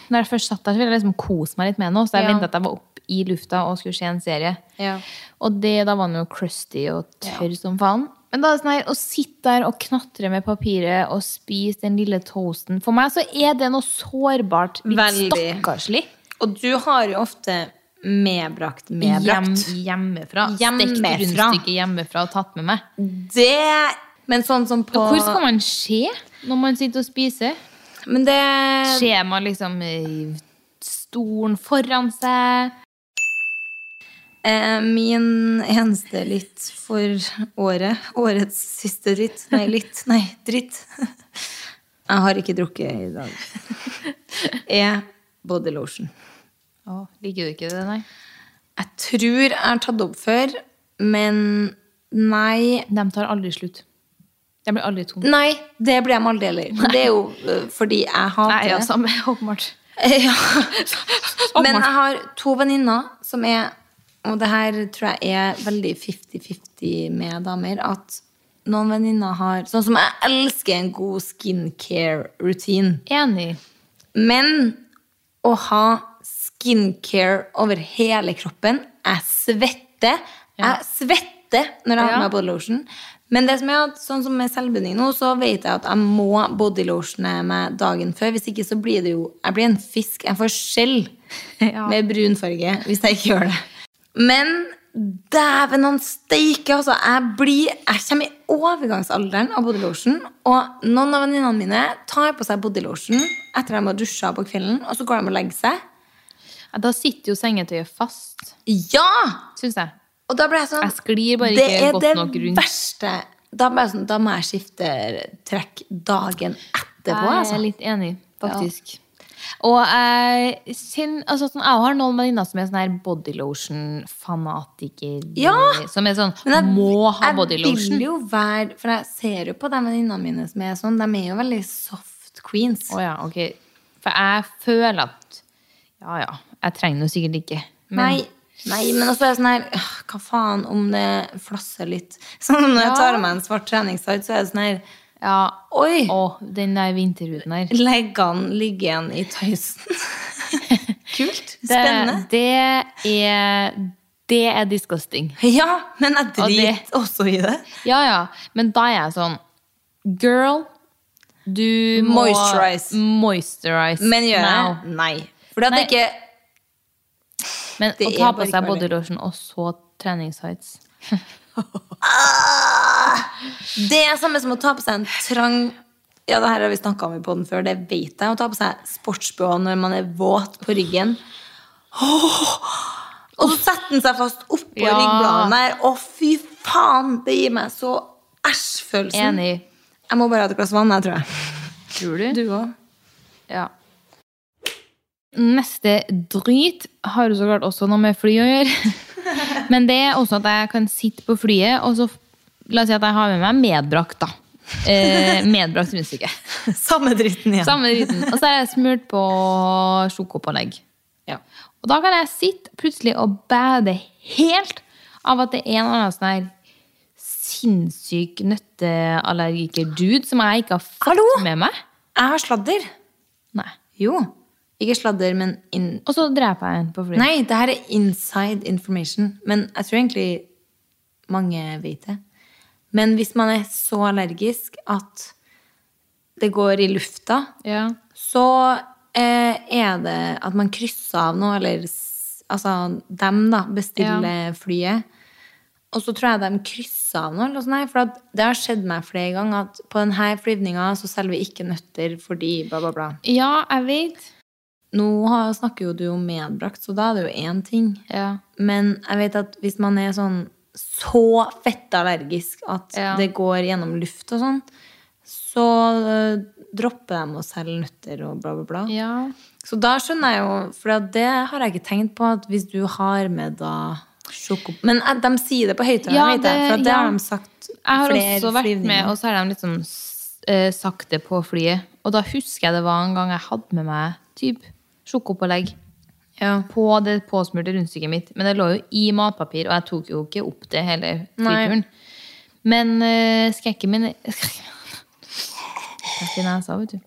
B: Når jeg først satt der, så ville jeg liksom kose meg litt med den også, så jeg
A: Ja.
B: ventet at jeg var opp i lufta og skulle se en serie.
A: Ja.
B: Og det, da var den jo crusty og tørr som faen. Men da er det sånn her, å sitte der og knatre med papiret og spise den lille toasten For meg så er det noe sårbart, litt
A: Veldig.
B: stakkarslig.
A: Og du har jo ofte medbrakt medbrakt.
B: Hjem, hjemmefra.
A: Hjemmefra.
B: Stekt rundstykke hjemmefra og tatt med meg.
A: Det Men sånn som på
B: Hvor skal man se når man sitter og spiser?
A: Men det
B: Ser man liksom i stolen foran seg?
A: Eh, Min eneste litt for året, årets siste dritt Nei, litt, nei, dritt. Jeg har ikke drukket i dag. Er body lotion.
B: Å, liker du ikke det, nei?
A: Jeg tror jeg har tatt opp før, men nei.
B: De tar aldri slutt. De blir aldri tomme.
A: Nei, det ble jeg aldri heller. Men Det er jo eh, fordi jeg hater
B: Nei, ja,
A: det.
B: samme, åpenbart.
A: Eh, Ja. Men jeg har to venninner som er Og det her tror jeg er veldig 50-50 med damer. At noen venninner har Sånn som jeg elsker en god skincare-routine.
B: Enig.
A: Men å ha skincare over hele kroppen Jeg svetter. Jeg svetter når jeg har
B: Ja.
A: på meg body lotion. Men det som er at, sånn som med selvbinding nå, så vet jeg at jeg må body lotione meg dagen før. Hvis ikke så blir det jo Jeg blir en fisk. Jeg får skjell
B: Ja.
A: med brunfarge hvis jeg ikke gjør det. Men dæven han steike, altså. Jeg blir Jeg kommer i overgangsalderen av body lotion. Og noen av venninnene mine tar på seg body lotion etter at de har dusja på kvelden, og så går de og legger seg.
B: Ja, Da sitter jo sengetøyet fast,
A: Ja!
B: syns jeg.
A: Og da ble jeg sånn
B: Jeg sklir bare
A: Det
B: ikke
A: er
B: godt
A: det
B: nok rundt.
A: verste. Da, ble jeg sånn, da må jeg skifte trekk dagen etterpå,
B: Jeg
A: altså.
B: er litt enig, faktisk. Og jeg, kjenner, altså, sånn, jeg har noen venninner som er sånn her bodylotion-fanatiker.
A: Ja!
B: Som er sånn
A: Men jeg,
B: må ha
A: Jeg vil
B: bodylotion.
A: jo være For jeg ser jo på de venninnene mine som er sånn. De er jo veldig soft queens.
B: Å ja, ok. For jeg føler at Ja ja, jeg trenger det sikkert ikke. Men
A: Nei, nei, men også er jeg sånn her «Åh, Hva faen om det flasser litt? Sånn som når jeg
B: Ja.
A: tar av meg en svart treningstight, så er det sånn her
B: ja,
A: Oi!
B: å, den der vinterhuden her.
A: Leggene ligger igjen i tøysen. Kult.
B: Det,
A: Spennende.
B: det er Det er disgusting.
A: Ja, men jeg
B: Og det-
A: driter også i det.
B: Ja, ja. Men da er jeg sånn Girl, du må
A: Moisturize.
B: moisturize
A: Men gjør
B: now.
A: jeg? Nei. Fordi at
B: Nei.
A: det ikke
B: Men
A: Det
B: å
A: er
B: ta
A: bare
B: på seg
A: ikke mulig.
B: bodylotion og så treningstights
A: Ah! Det er samme som å ta på seg en trang Ja, det her har vi snakka om i podden før, det vet jeg. Å ta på seg sportsbh når man er våt på ryggen. Åh! Og så setter den seg fast oppå
B: Ja.
A: ryggbladene der. Å, fy faen! Det gir meg så æsj-følelsen.
B: Enig.
A: Jeg må bare ha et glass vann, jeg, tror jeg.
B: Tror du?
A: òg?
B: Ja. Neste drit har jo så klart også noe med fly å gjøre. Men det er også at jeg kan sitte på flyet, og så La oss si at jeg har med meg medbrakt, da. Eh, medbrakt rundstykke.
A: Samme dritten igjen.
B: Samme driten. Og så har jeg smurt på sjokopålegg.
A: Ja.
B: Og da kan jeg sitte plutselig og bade helt av at det er en eller annen sånn her sinnssyk nøtteallergiker-dude som jeg ikke har fått
A: Hallo?
B: med meg.
A: Jeg har sladder.
B: Nei.
A: Jo. Ikke sladder, men inn...
B: Og så dreper jeg en på flyet.
A: Nei, det her er inside information. Men jeg tror egentlig mange vet det. Men hvis man er så allergisk at det går i lufta,
B: Ja.
A: så eh, er det at man krysser av noe, eller s- altså dem, da, bestiller flyet. Og så tror jeg de krysser av noe, eller noe sånt, her, for at det har skjedd meg flere ganger at på denne flyvninga så selger vi ikke nøtter fordi bla, bla, bla.
B: ja, jeg vet.
A: Nå har- snakker jo du om medbrakt, så da er det jo én ting.
B: Ja.
A: Men jeg vet at hvis man er sånn så fettallergisk at
B: Ja.
A: det går gjennom luft og sånn, så eh, dropper de å selge nøtter og bla, bla, bla.
B: Ja.
A: Så da skjønner jeg jo, for det har jeg ikke tenkt på, at hvis du har med da sjoko... Men eh, de sier det på høyttaleren,
B: Ja,
A: vet jeg,
B: det-
A: for at det
B: ja.
A: har de sagt
B: Jeg har
A: flere
B: også vært
A: flyvninger.
B: med, og så har de liksom eh, sagt det på flyet. Og da husker jeg det var en gang jeg hadde med meg typ sjokopålegg
A: Ja.
B: på det påsmurte rundstykket mitt. Men det lå jo i matpapir, og jeg tok jo ikke opp det hele
A: Nei.
B: flyturen. Men eh, skrekken min Rett i nesa, vet du.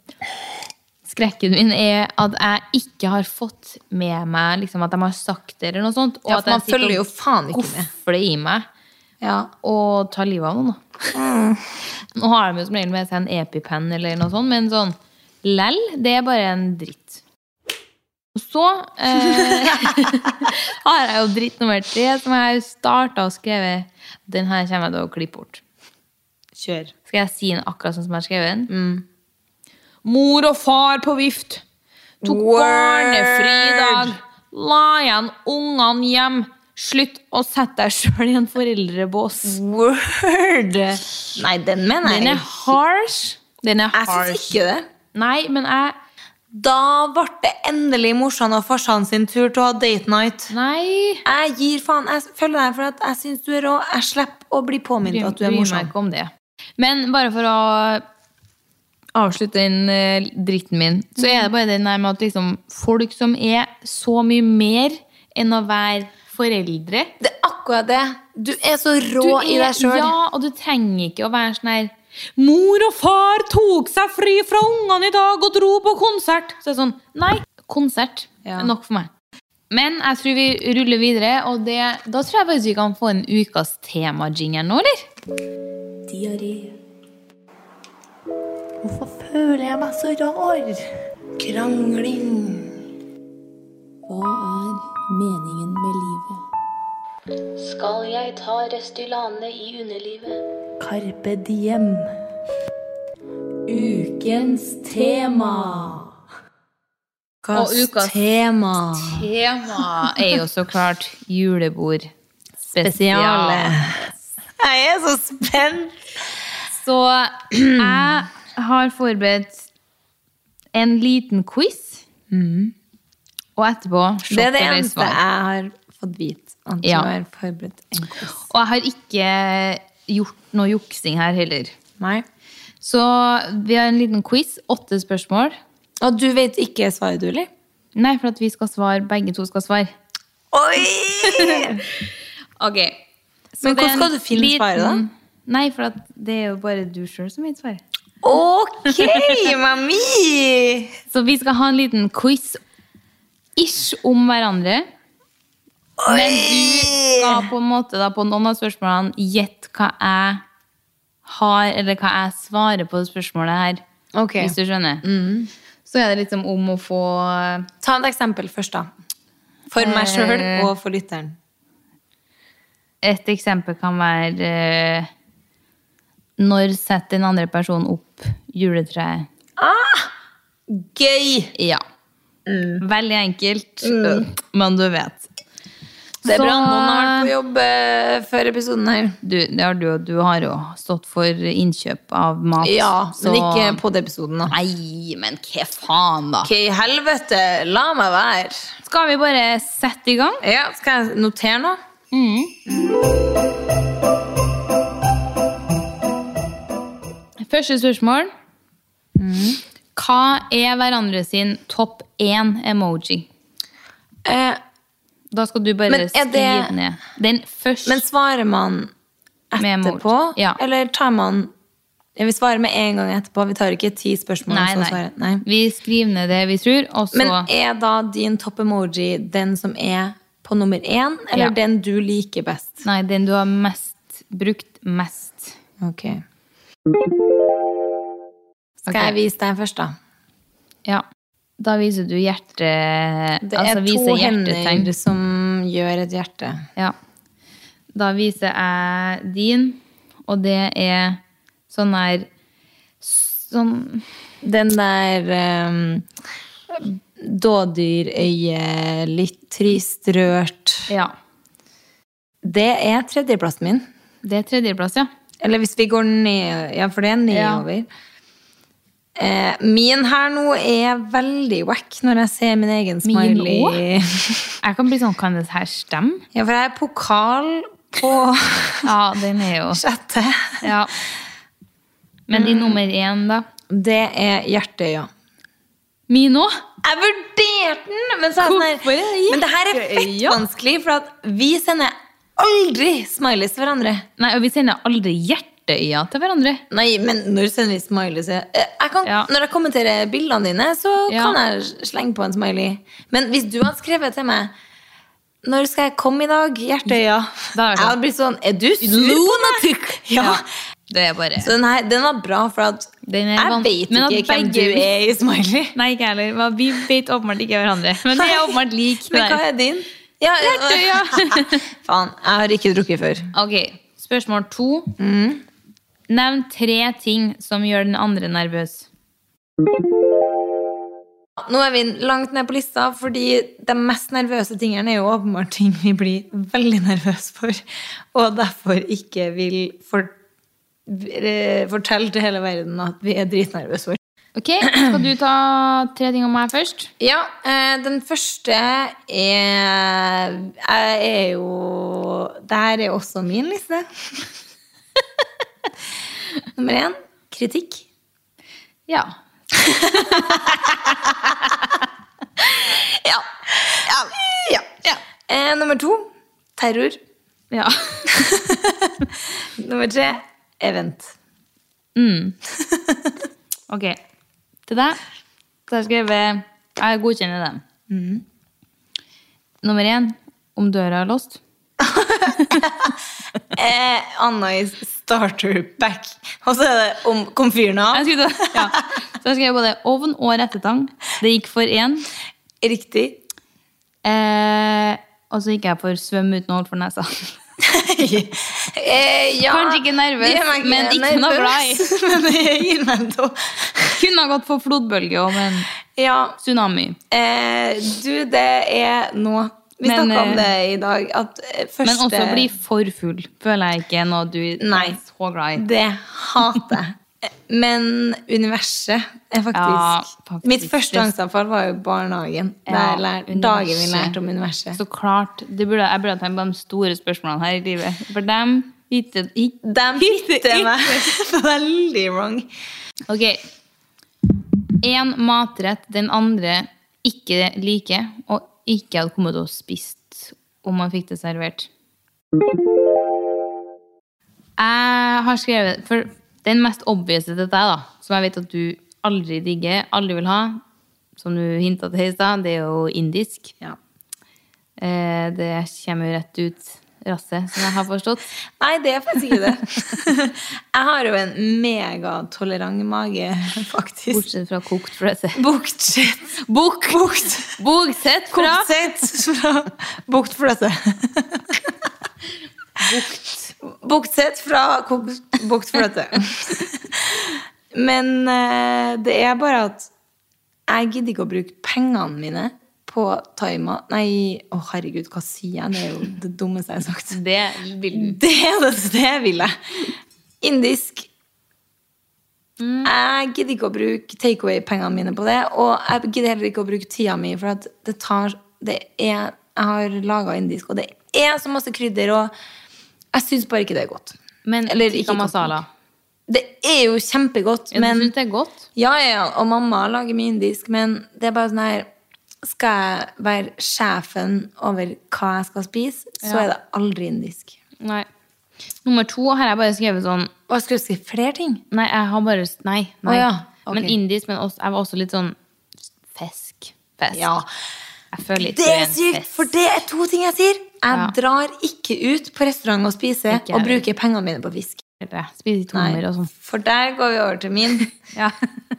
B: Skrekken min er at jeg ikke har fått med meg liksom, at de har sagt det, eller noe sånt. Og
A: Ja,
B: at
A: for man
B: jeg sitter
A: følger
B: og
A: jo faen ikke med.
B: gofler i meg
A: Ja.
B: og ta livet av noen, da.
A: Mm.
B: Nå har de jo som regel med seg en EpiPen eller noe sånt, men sånn lell, det er bare en dritt. Og så eh, har jeg jo dritt nummer tre, som jeg starta og skrevet. Den her kommer jeg til å klippe bort.
A: Kjør.
B: Skal jeg si den akkurat sånn som jeg har skrevet den? Mor og far på vift. Tok
A: Mm. Word.
B: barnefri i dag. La igjen ungene hjem. Slutt å sette deg sjøl i en foreldrebås.
A: Word! Nei, den mener jeg.
B: Den er harsh. Den er
A: Jeg
B: harsh.
A: syns ikke det.
B: Nei, men jeg
A: Da ble det endelig morsan og farsan sin tur til å ha date night.
B: Nei.
A: Jeg gir faen. Jeg følger deg for at jeg syns du er rå. Jeg slipper å bli påminnet at du er
B: Bryr
A: morsom.
B: meg ikke om det. Men bare for å avslutte den eh, dritten min, så er
A: Mm.
B: det bare den der med at liksom, folk som er så mye mer enn å være foreldre
A: Det er akkurat det. Du er så rå
B: Du
A: i deg sjøl.
B: Ja, og du trenger ikke å være sånn her Mor og far tok seg fri fra ungene i dag og dro på konsert. Så det er sånn, nei, konsert
A: Ja.
B: er nok for meg. Men jeg tror vi ruller videre, og det, da tror jeg faktisk vi kan få en ukas tema-jingle nå, eller?
A: Diaré. Hvorfor føler jeg meg så rar? Krangling. Hva er meningen med livet?
D: Skal jeg ta Restylane i underlivet?
A: Carpe diem. Ukens tema.
B: Og ukas
A: tema.
B: Temaet er jo så klart julebord.
A: Spesiale.
B: Spesial.
A: Jeg er så spent!
B: Så jeg har forberedt en liten quiz. Og etterpå
A: Det er det
B: eller
A: eneste
B: svar.
A: jeg har fått vite. At
B: Ja.
A: du har forberedt en quiz.
B: Og jeg har ikke gjort noe juksing her heller.
A: Nei.
B: Så vi har en liten quiz. Åtte spørsmål.
A: Og du vet ikke svaret, du, eller?
B: Nei, for at vi skal svare, begge to skal svare.
A: Oi!
B: Ok.
A: Men hvordan skal du finne svaret, da?
B: Nei, for at det er jo bare du sjøl som vet svaret.
A: Ok, mami!
B: Så vi skal ha en liten quiz ish om hverandre. Men du skal på en måte da på noen av spørsmålene gjette hva jeg har, eller hva jeg svarer på det spørsmålet her.
A: Ok, Mm.
B: Hvis du skjønner. Så er det liksom om å få
A: Ta et eksempel først, da. For meg sjøl
B: Eh.
A: og for lytteren.
B: Et eksempel kan være eh, Når setter den andre personen opp juletreet?
A: Gøy!
B: Ja. Mm. Veldig enkelt, men du vet.
A: Mm. Det er
B: Så-
A: bra. Noen har vært på jobb eh, før episoden her.
B: Du, det har du, og du har jo stått for innkjøp av mat.
A: Ja,
B: så-
A: men ikke på den episoden, da.
B: Nei, men hva faen, da?
A: Ok, helvete! La meg være.
B: Skal vi bare sette i gang?
A: Ja, Skal jeg notere nå?
B: Første spørsmål. Hva er hverandre sin topp én emoji?
A: Eh,
B: Da skal du bare
A: Men er det-
B: skrive ned. Den første
A: men svarer man
B: Med emoji.
A: etterpå?
B: Ja.
A: Eller tar man ja, Vi svarer med en gang etterpå. Vi tar ikke ti spørsmål.
B: nei,
A: og så
B: nei.
A: svarer- nei.
B: Vi skriver ned det vi tror, og så
A: Men er da din topp emoji den som er på nummer én, eller
B: Ja.
A: den du liker best?
B: Nei, den du har mest brukt mest.
A: Ok. Skal
B: Ok.
A: jeg vise deg først, da?
B: Ja. Da viser du hjerte...
A: Det
B: altså,
A: er to
B: viser hjertetegn.
A: hender som gjør et hjerte.
B: Ja. Da viser jeg din, og det er sånn her Sånn
A: Den der ehm, Dådyrøye, litt trist, rørt.
B: Ja.
A: Det er tredjeplassen min.
B: Det er tredjeplass, ja.
A: Eller hvis vi går ned Ja, for det er nedover. Eh, min her nå er veldig wack når jeg ser min egen
B: Min
A: smiley.
B: Jeg kan bli sånn Kan det her stemme?
A: Ja, for jeg er pokal på
B: Ja, den er jo Mm.
A: sjette.
B: Ja. Men din nummer én, da?
A: Det er hjerteøya.
B: Min òg?
A: Jeg vurderte den! Men, så er jeg
B: Hvorfor
A: sånn her,
B: er det
A: men det her er fett
B: hjerteøya?
A: vanskelig, for at vi sender aldri smileys til hverandre.
B: Nei, og vi sender aldri hjerteøyne til hverandre.
A: Nei, men når sender vi smileys? Jeg jeg kan,
B: Ja.
A: Når jeg kommenterer bildene dine, så
B: Ja.
A: kan jeg slenge på en smiley. Men hvis du hadde skrevet til meg når skal jeg komme i dag? Hjerteøya.
B: Da er
A: Jeg
B: det-
A: hadde blitt sånn Er du lunatic? Ja.
B: Det er bare
A: Så den, her, den var bra, for at
B: Den er
A: jeg
B: van-
A: vet
B: Men at
A: ikke hvem du
B: begge-
A: er i smiley.
B: Nei, ikke jeg heller. Hva- Vi vet åpenbart ikke hverandre. Men vi er åpenbart like
A: Men hva
B: der.
A: er din? Ja,
B: Hjerteøya.
A: Faen, jeg har ikke drukket før.
B: Ok, spørsmål to. Mm. Nevn tre ting som gjør den andre nervøs.
A: Nå er vi langt ned på lista, fordi de mest nervøse tingene er jo åpenbart ting vi blir veldig nervøse for, og derfor ikke vil for, eh, fortelle til hele verden at vi er dritnervøse for.
B: Ok, Skal du ta tre ting om meg først?
A: Ja, eh, den første er Jeg er jo Det her er også min liste. Nummer én kritikk.
B: Ja.
A: Ja. ja. Eh, nummer to terror.
B: ja.
A: Nummer tre event.
B: Ok. Til deg så har jeg skrevet Jeg godkjenner den.
A: Mm.
B: Nummer én om døra er låst.
A: Eh, Anna-Is starter pack. Og så er det om komfyrene.
B: Jeg skulle ta, ja. Så jeg skrev både ovn og rettetang. Det gikk for én.
A: Riktig.
B: Eh, og så gikk jeg for svøm uten å holde for nesa.
A: eh, ja,
B: Kanskje ikke nervøs,
A: det gjør meg
B: men ikke noe
A: nervøs, Men det gir meg en tå.
B: Kunne ha gått for flodbølge og men
A: Ja,
B: tsunami.
A: eh, du, det er nå Vi
B: Men,
A: snakka om
B: eh,
A: det i dag. At eh, første
B: Men også bli for full føler jeg ikke er noe du
A: Nei.
B: er så glad i.
A: Det hater jeg. Men universet er faktisk,
B: Ja, faktisk.
A: Mitt første angstanfall var jo barnehagen.
B: Ja,
A: der jeg lærte, dagen vi
B: universet.
A: lærte om universet.
B: Så klart, det burde, Jeg burde ha tenkt på de store spørsmålene her i livet. For dem ikke, ikke.
A: De hitter meg veldig wrong.
B: Ok. Én matrett den andre ikke liker, og ikke hadde kommet og spist om man fikk det servert. Jeg har skrevet For den mest obvious til deg, da, som jeg vet at du aldri digger, aldri vil ha, som du hinta til i stad, det er jo indisk. Eh, det kommer jo rett ut rasset, som jeg har forstått.
A: Nei, det er faktisk ikke det. Jeg har jo en megatolerant mage, faktisk.
B: Bortsett fra kokt fløte.
A: Bortsett Bukt. Bukt.
B: Bortsett fra
A: Bortsett fra Bukt fløte. Bortsett fra kokt- bukt fløte. Men eh, det er bare at jeg gidder ikke å bruke pengene mine på thaimat. Nei, å herregud, hva sier jeg? Det er jo det dummeste jeg har sagt.
B: Det vil du.
A: Det er det, det vil jeg. Indisk. Mm. Jeg gidder ikke å bruke takeaway-pengene mine på det. Og jeg gidder heller ikke å bruke tida mi, for at det tar det er, Jeg har laga indisk, og det er så masse krydder, og jeg syns bare ikke det er godt.
B: Men
A: Eller
B: tikka
A: ikke godt
B: masala.
A: Det er jo kjempegodt,
B: Men,
A: men
B: du synes det er godt?
A: ja, ja, ja, og mamma lager mye indisk, men det er bare sånn her Skal jeg være sjefen over hva jeg skal spise, så
B: Ja.
A: er det aldri indisk.
B: Nei. Nummer to har jeg bare skrevet sånn
A: Og jeg skulle skrive flere ting.
B: Nei, jeg har bare Nei. nei.
A: Å ja, ok.
B: Men indisk, men også, jeg var også litt sånn fisk. Fisk.
A: Ja.
B: Jeg føler ikke
A: Det er
B: en
A: sykt,
B: fisk.
A: for det er to ting jeg sier. Jeg
B: Ja.
A: drar ikke ut på restaurant og spiser
B: Ikke jeg
A: og bruker pengene mine på fisk.
B: Jeg Spiser ikke hummer og sånn.
A: For der går vi over til min
B: Ja.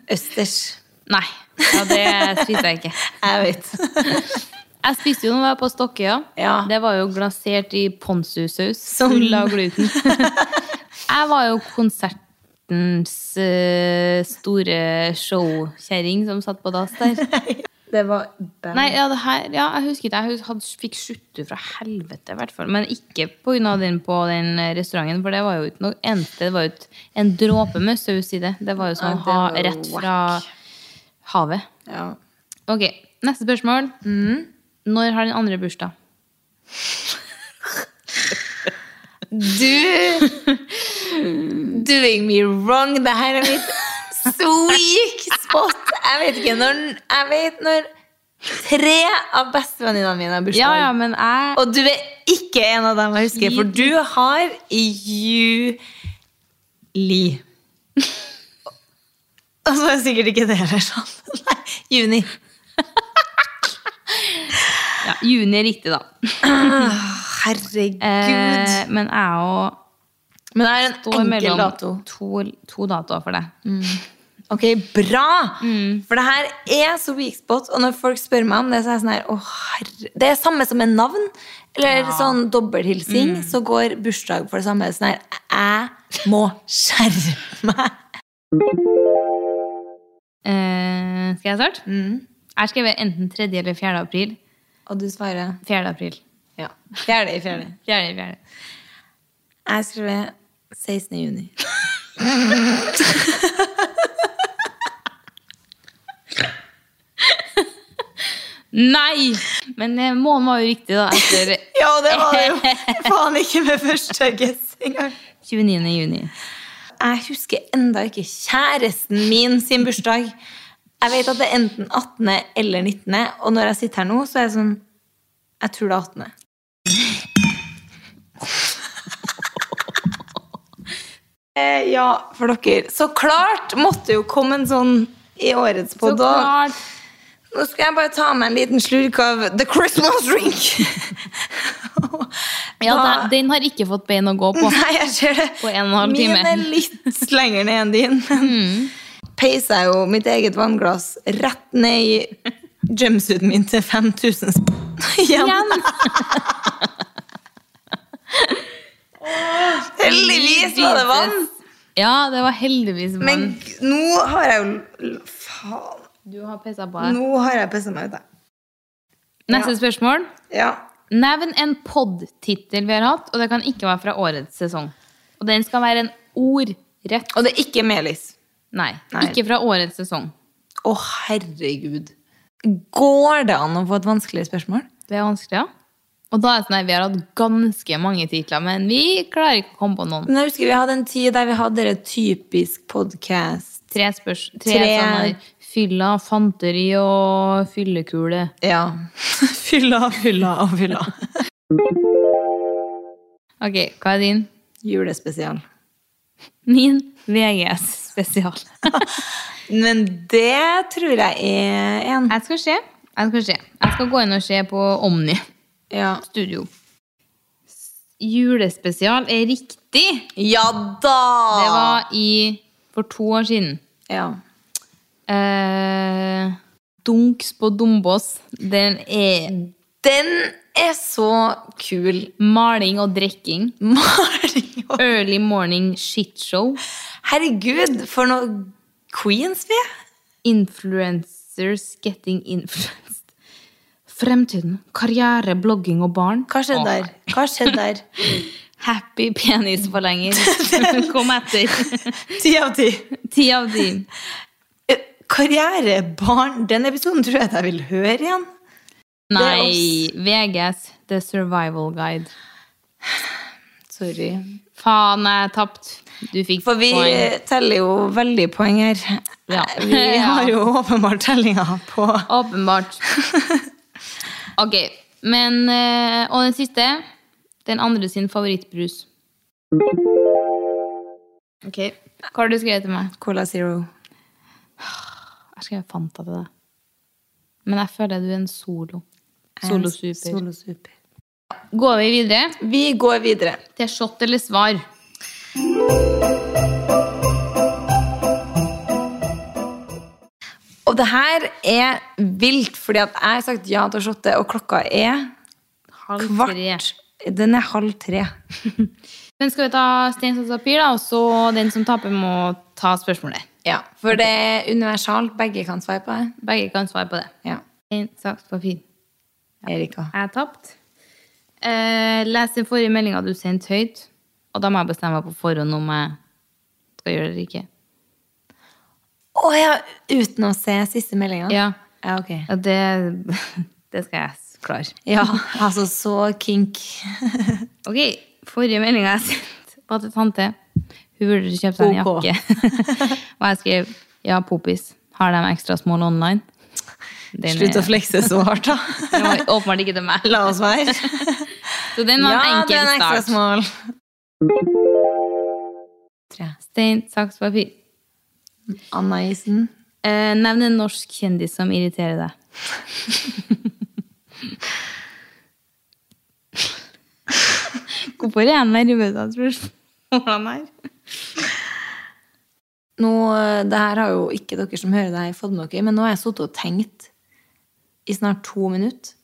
A: østers.
B: Nei. Ja, det spiser jeg ikke.
A: Jeg vet.
B: Jeg spiste jo når jeg var på Stokkøya.
A: Ja.
B: Det var jo glasert i ponzu-saus.
A: Som-
B: Full av gluten. jeg var jo konsertens eh, store showkjerring som satt på dass der.
A: Det var bad.
B: Nei, ja, det her, ja, jeg husker ikke. Jeg hus- hadde, fikk skjuttu fra helvete, i hvert fall. Men ikke pga. den på den eh, restauranten, for det var jo ikke noe endte. Det var jo ikke en dråpe med saus i det. Det var jo
A: Ja,
B: sånn
A: det
B: ha,
A: var jo
B: rett fra havet.
A: Ja.
B: Ok, neste spørsmål.
A: Mm.
B: Når har den andre bursdag?
A: Du Doing me wrong. Det her er mitt sweak spot. Jeg vet ikke når Jeg vet når tre av bestevenninnene mine har bursdag.
B: Ja, ja, men jeg
A: Og du er ikke en av dem jeg husker, for du har juli. Og så er sikkert ikke det heller sånn. Nei, juni.
B: ja, Juni er riktig, da.
A: Herregud.
B: Eh, men jeg og
A: Men det er en
B: står
A: enkel
B: mellom
A: dato.
B: to, to datoer for deg.
A: Ok, bra! For det her er så weak spot, og når folk spør meg om det, så er jeg sånn her Å, herre Det er samme som med navn, eller sånn dobbelthilsing, så går bursdag for det samme. Sånn her Jeg må skjerme meg!
B: Eh, skal jeg starte?
A: Mm.
B: Jeg skrev enten 3. eller 4. april.
A: Og du svarer
B: 4. april.
A: ja. Fjerde i fjerde.
B: Fjerde, fjerde.
A: Jeg skrev 16. juni.
B: Nei! Men eh, månen var jo riktig, da. Etter
A: Ja, det var det jo faen ikke med første guess engang.
B: 29. juni.
A: Jeg husker enda ikke kjæresten min sin bursdag. Jeg vet at det er enten 18. eller 19., og når jeg sitter her nå, så er jeg sånn Jeg tror det er 18. Eh, ja, for dere. Så klart måtte jo komme en sånn i årets
B: Så
A: podd. og-
B: klart!
A: nå skal jeg bare ta meg en liten slurk av The Christmas Drink.
B: Ja,
A: Da-
B: den, den har ikke fått bein å gå på.
A: Nei, jeg ser det.
B: På en og en halv time. Mm.
A: Min er litt lenger ned enn din. Men peisa jo mitt eget vannglass rett ned i jumpsuiten min til 5000 sp- igjen.
B: Igjen!
A: Heldigvis var det vann.
B: Ja, det var heldigvis vann.
A: Men g- nå har jeg jo l- Faen.
B: du har pissa på deg.
A: Nå har jeg pissa meg ut, jeg.
B: Neste spørsmål.
A: Ja.
B: Nevn en pod-tittel vi har hatt, og det kan ikke være fra årets sesong. Og den skal være en ordrett.
A: Og det er ikke melis.
B: Nei,
A: Nei.
B: ikke fra årets sesong.
A: Å, herregud. Går det an å få et vanskeligere spørsmål?
B: Det er vanskelig, ja. Og da er det sånn at vi har hatt ganske mange titler, men vi klarer ikke å komme på noen.
A: Men jeg husker vi hadde en tid der vi hadde det typisk podcast.
B: Tre spørs... Tre,
A: Tre-
B: sånne der. Fylla, fanteri og fyllekule.
A: Ja. fylla, fylla og fylla.
B: Ok, hva er din?
A: Julespesial.
B: Min VGS-spesial.
A: Men det tror jeg er en.
B: Jeg skal se. Jeg skal se. Jeg skal gå inn og se på Omni
A: Ja.
B: Studio. Julespesial er riktig!
A: Ja da!
B: Det var i For to år siden.
A: Ja.
B: Eh, dunks på Dombås. Den er
A: Den er så kul.
B: maling og drikking.
A: Maling og
B: Early morning shitshow.
A: Herregud, for noe queens vi er.
B: Influencers getting influenced. Fremtiden. Karriere, blogging og barn.
A: Hva skjedde
B: Åh,
A: der? Hva skjedde der?
B: Happy penisforlenger. Kom etter.
A: Ti av ti.
B: Ti av ti.
A: Eh, Karrierebarn. Den episoden tror jeg at jeg vil høre igjen.
B: Nei. VGS, The Survival Guide.
A: Sorry.
B: Faen, jeg tapt. Du fikk
A: For vi
B: poeng.
A: teller jo veldig poeng her. Eh,
B: Ja.
A: Vi har jo åpenbart tellinga på
B: Åpenbart. Ok, men eh, Og den siste. Den andre sin favorittbrus. Ok. Hva har du skrevet til meg?
A: Cola Zero.
B: Jeg skrev Fanta til deg. Men jeg føler du er en solo. Solo super.
A: Eh, Solo super.
B: Går vi videre
A: Vi går videre.
B: til shot eller svar?
A: Og det her er vilt, fordi at jeg har sagt ja til å shotte, og klokka er
B: Halv
A: kvart.
B: tre.
A: Den er halv tre.
B: Men skal vi ta stein, saks, papir, da? Og så den som taper, må ta spørsmålet.
A: Ja, For det er universalt. Begge kan svare på det.
B: Begge kan svare på det.
A: Ja.
B: En saks papir.
A: Erika.
B: Jeg tapte. Eh, les den forrige meldinga du sendte høyt, og da må jeg bestemme meg på forhånd om jeg skal gjøre det eller ikke.
A: Å ja! Uten å se siste meldinga?
B: Ja,
A: ja, ok.
B: ja det, det skal jeg s- klare.
A: Ja, altså så kink.
B: Ok, forrige melding jeg sendte var til tante. Hun burde kjøpe seg en
A: Ok.
B: jakke. Og jeg skrev ja, popis. Har de ekstra small online? Den
A: Slutt
B: er-
A: å flekse så hardt, da.
B: Det var åpenbart ikke til meg.
A: La oss være.
B: Så den var en
A: det er
B: enkel
A: ekstra smal.
B: start. Stein, saks, papir.
A: Anna Isen.
B: Eh, nevn en norsk kjendis som irriterer deg. Hvorfor er jeg nervøs av spørsmålene her?
A: Nå, eh, det her har jo ikke dere som hører det her, fått med dere, men nå har jeg sittet og tenkt i snart to minutter.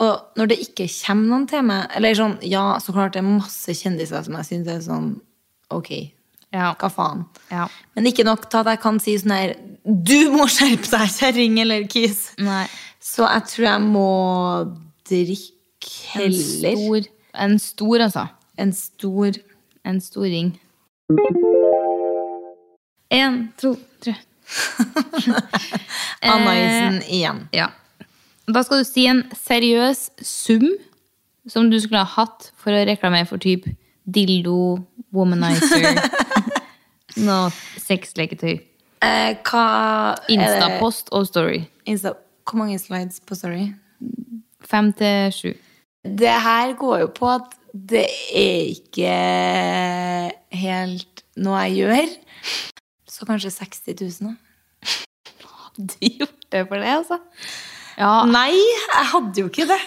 A: Og når det ikke kommer noen til meg Eller sånn, ja, så klart det er masse kjendiser som jeg syns er sånn Ok,
B: Ja.
A: hva faen?
B: ja.
A: Men ikke nok til at jeg kan si sånn her Du må skjerpe deg, kjerring eller kis!
B: Nei.
A: Så jeg tror jeg må drikke
B: En
A: heller.
B: stor, en stor, altså.
A: En stor
B: En storing. Én, to, tre.
A: Anna-isen igjen.
B: Ja. Da skal du si en seriøs sum som du skulle ha hatt for å reklamere for typ dildo, womanizer, noe sexleketøy.
A: Eh, hva er det-
B: Instapost og story.
A: Insta Hvor mange slides på Story?
B: Fem til sju.
A: Det her går jo på at det er ikke helt noe jeg gjør. Så kanskje 60 000, da?
B: Du gjort det for det, altså? Ja,
A: Nei, jeg hadde jo ikke det.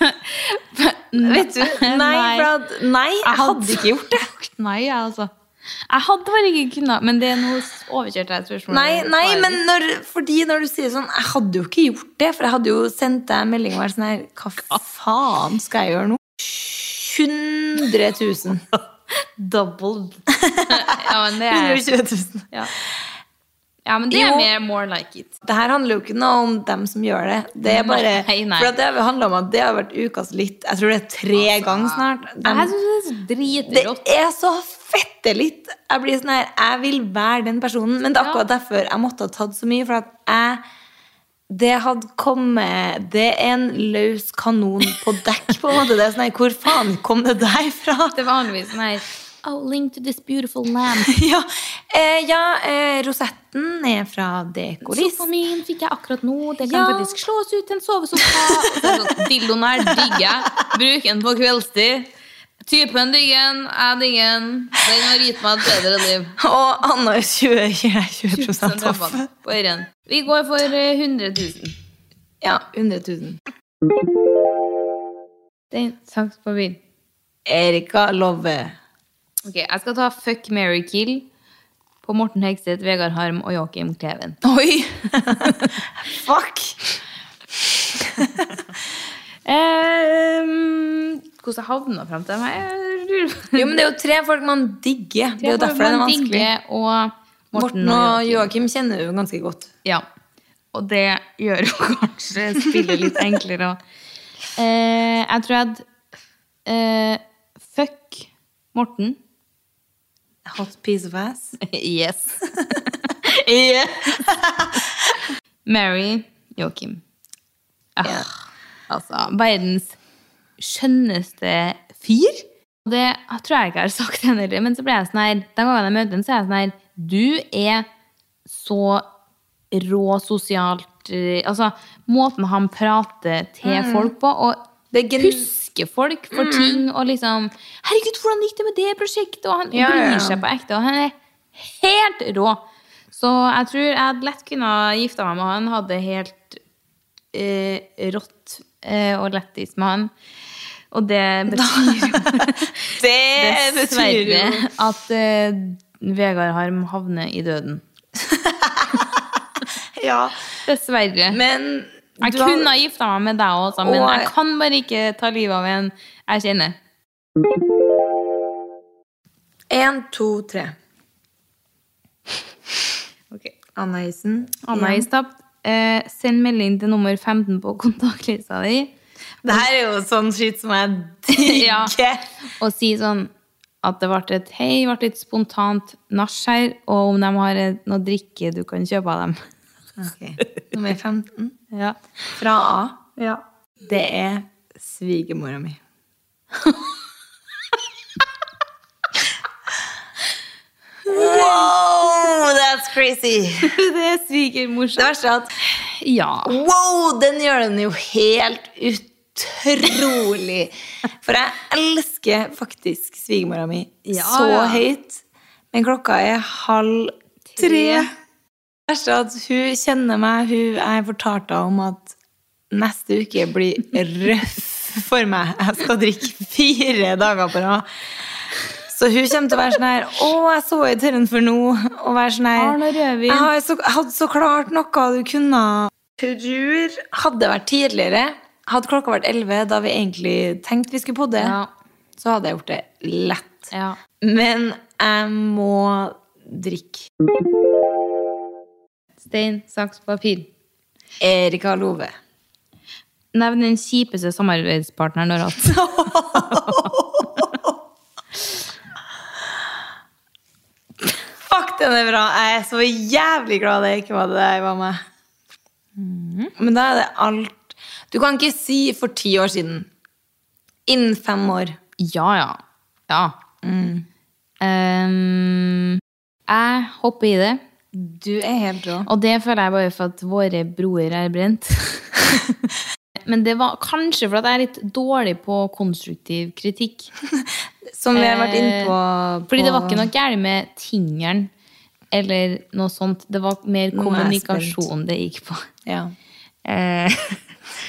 A: Vet du? Nei,
B: Nei.
A: For at, nei jeg
B: hadde-
A: hadde ikke gjort det.
B: Nei, jeg, altså. Jeg hadde bare ikke kunnet, men det er noe overkjørt her spørsmålet.
A: Nei, nei men når, fordi når du sier sånn Jeg hadde jo ikke gjort det, for jeg hadde jo sendt deg en melding og vært sånn her Hva faen skal jeg gjøre nå? 100 000.
B: Doubled. ja, men det er...
A: 120 000.
B: Ja. ja, men det er
A: Jo.
B: mer more like it.
A: Det her handler jo ikke noe om dem som gjør det. Det er bare,
B: Nei, nei.
A: For at det har handlet om at det har vært ukas litt. Jeg tror det er tre ganger snart. Dem-
B: Altså, Jeg synes det er så
A: det
B: dritrått.
A: er så fette litt! Jeg blir sånn her, jeg vil være den personen. Men det er akkurat derfor jeg måtte ha tatt så mye. For at jeg Det hadde kommet Det er en løs kanon på dekk, på en måte. Det er sånn her, Hvor faen kom det der fra?
B: Det er vanligvis sånn her Oh, link to this beautiful lamp.
A: Ja, eh, ja eh, rosetten er fra Dekoris.
B: Sofaen min fikk jeg akkurat nå. Det kan
A: Ja.
B: faktisk slås ut til en sovesofa. Og så er det sånn, Dildoen her digger jeg. Bruk den på kveldstid. Typen digger den. Jeg digger den. Den har gitt meg et bedre liv.
A: Og Anna er 20, 20, 20
B: Sånn
A: off.
B: treffer han på øren. Vi går for eh, 100 000.
A: Ja, 100 000.
B: Den saks på byen.
A: Erika Love.
B: Ok, jeg skal ta Fuck, Mary Kill på Morten Hegseth, Vegard Harm og Joakim Kleven.
A: Oi! Fuck!
B: Um, hvordan jeg havna frem til dem her?
A: Jo, men det er jo tre folk man digger. Det er jo derfor det er vanskelig.
B: Og Morten,
A: Morten
B: og
A: og Joakim kjenner jo ganske godt.
B: Ja. Og det gjør jo kanskje spillet litt enklere òg. Eh, jeg tror jeg hadde eh, Fuck Morten.
A: Hot piece of ass.
B: Yes. Mary Joakim. Ah,
A: Ja.
B: Altså, verdens skjønneste fyr. Og det tror jeg ikke jeg har sagt henne heller, men så ble jeg sånn her, den gangen jeg møter henne, så er jeg sånn her, du er så rå sosialt, eh, altså, måten han prater til folk på, og
A: Mm. Det er gen- Mm.
B: husker folk for ting, og liksom, herregud, hvordan gikk det med det prosjektet? Og han
A: Ja, ja, ja.
B: bryr seg på ekte, og han er helt rå. Så jeg tror jeg hadde lett kunne ha gifta meg med han, hadde helt eh, rått eh, og lættis med han. Og det betyr
A: Det betyr
B: dessverre
A: jo
B: at eh, Vegard Harm havner i døden.
A: Ja,
B: Dessverre.
A: men
B: jeg
A: du har-
B: kunne ha gifta meg med deg også, men
A: Og-
B: jeg kan bare ikke ta livet av en jeg kjenner.
A: En, to, tre.
B: Okay.
A: Anna Isen.
B: Anna
A: igjen.
B: Istapt, eh, send melding til nummer 15 på kontaktlista di
A: Det her er jo sånn skitt som jeg digger.
B: Ja. og si sånn at det ble et hei, ble litt spontant nach her, og om de har eh, noe drikke du kan kjøpe av dem.
A: Ok, Nummer 15.
B: Ja.
A: Fra A. Det er svigermora mi. wow, that's crazy!
B: Det er svigermorsomt.
A: Det verste er at
B: Ja.
A: Wow, den gjør den jo helt utrolig. For jeg elsker faktisk svigermora mi
B: Ja,
A: så
B: ja.
A: høyt. Men klokka er halv tre.
B: Tre.
A: Det verste er at hun kjenner meg. Hun jeg fortalte henne om at neste uke blir røff for meg. Jeg skal drikke fire dager på rad. Så hun kommer til å være sånn her Å, jeg så i tørren for nå. Og være sånn her
B: Har noe rødvin.
A: Jeg har så, jeg hadde så klart noe du kunne Tror Hadde det vært tidligere, hadde klokka vært 11 da vi egentlig tenkte vi skulle podde,
B: Ja.
A: så hadde jeg gjort det lett.
B: ja.
A: Men jeg må drikke.
B: Stein, saks, papir.
A: Erika Love.
B: Nevn den kjipeste samarbeidspartneren du har hatt.
A: Fuck, den er bra! Jeg er så jævlig glad det ikke var det der var meg.
B: Mhm.
A: Men da er det alt Du kan ikke si for ti år siden. Innen fem år.
B: Ja, ja. Ja. Ehm, jeg hopper i det,
A: Du er helt rå.
B: og det føler jeg bare for at våre broer er brent. Men det var kanskje for at jeg er litt dårlig på konstruktiv kritikk.
A: Som vi har vært inne på, på
B: Eh, Fordi det var ikke noe gærent med tingeren eller noe sånt. Det var
A: Nå er
B: mer
A: jeg
B: kommunikasjon det gikk på.
A: ja.
B: Eh,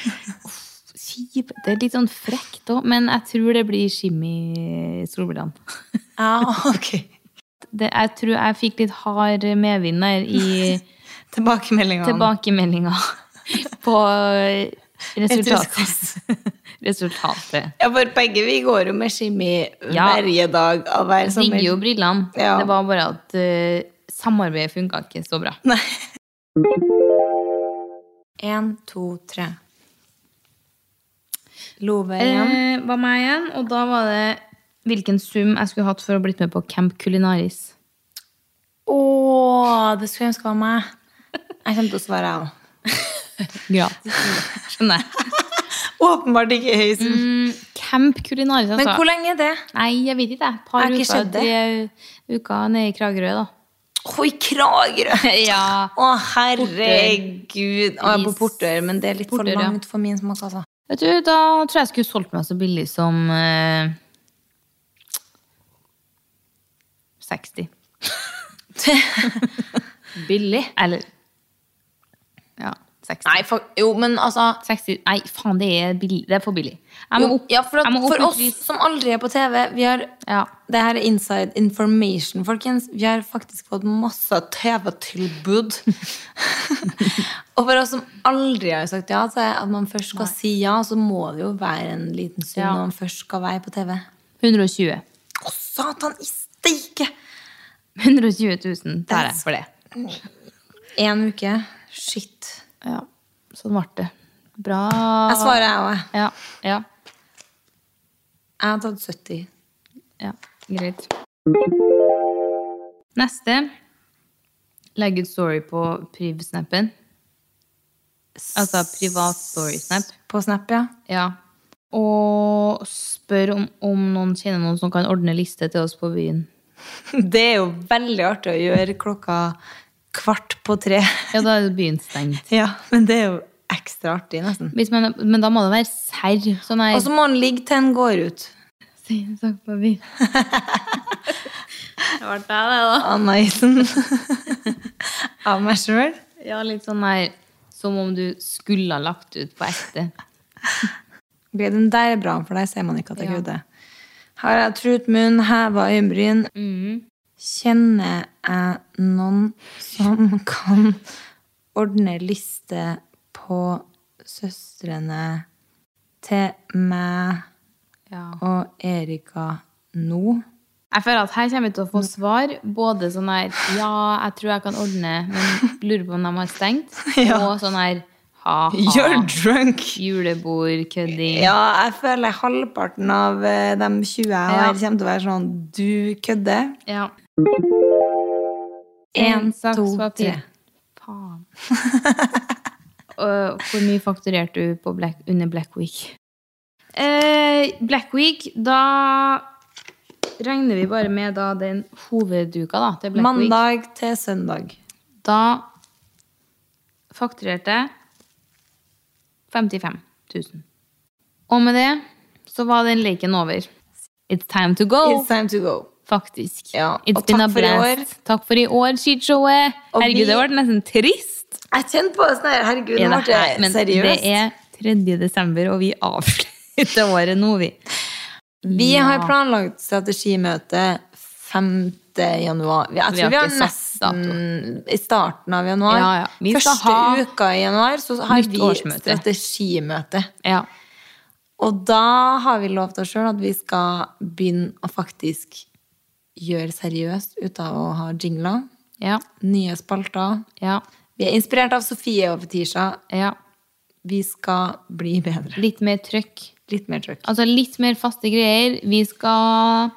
B: uff, kjip. Det er litt sånn frekt òg, men jeg tror det blir Jimmy Solbrand.
A: ja, Ah, ok.
B: Det, jeg tror jeg fikk litt hard medvind der i
A: Tilbakemeldingene.
B: tilbakemeldinga på resultatet.
A: Resultat.
B: resultatet.
A: Ja, for begge vi går jo med Shimi
B: Ja.
A: hver dag av hver
B: Jeg
A: sommer.
B: digger jo brillene.
A: Ja.
B: Det var bare at eh, samarbeidet funka ikke så bra.
A: Nei. En, to, tre. Love igjen.
B: Eh, var meg igjen, og da var det hvilken sum jeg skulle hatt for å blitt med på Camp Culinaris.
A: Åh, det skulle jeg ønske var meg. Jeg kommer til å svare, jeg òg.
B: Gratis. Skjønner jeg.
A: Åpenbart ikke høy sum.
B: Mm, Camp Culinaris,
A: Men
B: altså.
A: hvor lenge er det?
B: Nei, jeg vet ikke. Et
A: Har
B: par
A: ikke
B: uker,
A: skjedd det?
B: tre uker nede i Kragerø, da.
A: Å, i Kragerø!
B: ja.
A: Å, herregud. Å, jeg er på Portør, men det er litt
B: Portør,
A: for
B: ja.
A: langt for min smak, altså.
B: Vet du, da tror jeg jeg skulle solgt meg så billig som eh, 60. billig? Eller Ja, 60.
A: Nei, for, jo, men altså
B: 60 Nei, faen, det er, billig. Det er for billig. Jeg må
A: jo,
B: opp,
A: ja, for,
B: jeg
A: at,
B: må opp
A: for
B: i
A: oss
B: pris.
A: som aldri er på TV vi har,
B: Ja.
A: Det her er inside information, folkens. Vi har faktisk fått masse TV-tilbud. og for oss som aldri har sagt ja, så er at man først skal si ja, så må det jo være en liten sum
B: Ja.
A: når man først skal være på TV.
B: 120.
A: Å, satan i steike!
B: 120 000 tar jeg for det.
A: Én uke. Shit.
B: Ja, sånn ble det. Bra.
A: Jeg svarer, jeg òg.
B: Ja, ja,
A: Jeg har tatt 70.
B: ja. Greit. Neste. Legg ut story på privsnappen. Altså privat storysnap.
A: På Snap, ja.
B: Ja. Og spør om, om noen kjenner noen som kan ordne liste til oss på byen.
A: Det er jo veldig artig å gjøre klokka kvart på tre.
B: Ja, da er jo byen stengt.
A: Ja, men det er jo ekstra artig, nesten.
B: Hvis man, men da må det være serr. Sånn her
A: Og så må han ligge til han går ut.
B: Si en sak på byen. Det ble deg, det, da.
A: Anna-isen. Av meg sjøl.
B: Ja, litt sånn her som om du skulle ha lagt ut på ekte.
A: Ok, Den der er bra, for der ser man ikke at det er
B: Ja.
A: gode. Har jeg trut munn, heva øyenbryn?
B: Mm.
A: Kjenner jeg noen som kan ordne liste på søstrene til meg
B: Ja.
A: og Erika nå?
B: Jeg føler at her kommer vi til å få
A: Mm.
B: svar. Både sånn her Ja, jeg tror jeg kan ordne, men lurer på om de har stengt.
A: Ja.
B: Og sånn her ha-ha.
A: You're drunk!
B: Julebord, kødding.
A: Ja, jeg føler halvparten av eh, de 20 her
B: Ja.
A: kommer til å være sånn Du kødder.
B: Ja.
A: En,
B: En saks
A: to,
B: papir.
A: tre.
B: Faen. Og hvor mye fakturerte du på Black, under Black Week? Eh, Black Week, da regner vi bare med da den hovedduka da, til Black Week.
A: Mandag til søndag.
B: Da fakturerte jeg 55 000. Og med det så var den leken over. It's time to go,
A: It's time to go.
B: faktisk.
A: Ja,
B: It's
A: og
B: been
A: takk
B: a
A: for i år.
B: blast. Takk for i år, skishowet.
A: Og
B: Herregud,
A: vi-
B: det ble nesten trist.
A: Jeg kjente på det sånn her, herregud, nå
B: Er det
A: ble
B: her?
A: jeg
B: Men
A: seriøst.
B: det er 3. desember, og vi avslutter året nå, vi.
A: Vi
B: Ja.
A: har planlagt strategimøte 5. januar. Jeg tror vi
B: har
A: har,
B: ikke satt
A: nesten i starten av januar.
B: Ja, ja. Vi skal
A: Første
B: ha
A: uka i januar så har
B: nytt
A: vi
B: årsmøte.
A: strategimøte.
B: Ja.
A: Og da har vi lovt oss sjøl at vi skal begynne å faktisk gjøre seriøst ut av å ha jingler.
B: Ja.
A: Nye spalter.
B: Ja.
A: Vi er inspirert av Sofie og Fetisha.
B: ja.
A: Vi skal bli bedre.
B: Litt mer trøkk.
A: Litt mer trøkk.
B: Altså litt mer faste greier. Vi skal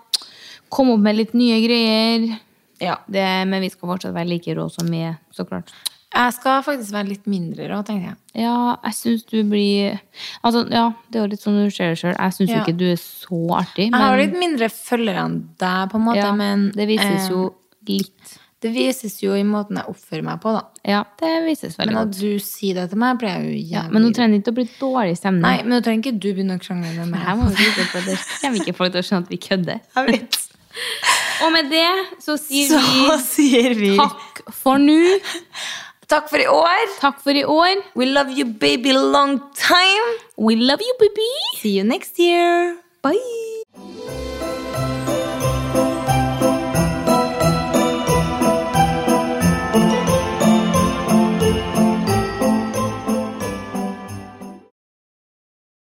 B: komme opp med litt nye greier.
A: Ja.
B: Det, men vi skal fortsatt være like rå som vi er, så klart.
A: Jeg skal faktisk være litt mindre rå, tenker jeg.
B: Ja, jeg syns du blir Altså, ja, det er jo litt sånn du ser det sjøl. Jeg syns jo
A: Ja.
B: ikke du er så artig,
A: Jeg har
B: men
A: litt mindre følgere enn deg, på en måte,
B: ja,
A: men
B: det vises
A: eh,
B: jo litt.
A: det vises jo i måten jeg oppfører meg på, da.
B: Ja, det vises veldig
A: Men
B: godt.
A: at du sier det til meg, blir jeg jo jævlig
B: Ja, men nå trenger det ikke å bli dårlig stemning.
A: Nei, men nå trenger ikke du begynne å krangle med
B: Men Her
A: meg.
B: må vi vite på det. Kommer ikke folk til å skjønne at vi kødder?
A: Jeg vet.
B: Og med det så sier
A: Så
B: vi
A: sier vi
B: takk for nå.
A: takk for i år.
B: Takk for i år.
A: We love you, baby, long time.
B: We love you, baby!
A: See you next year. Bye.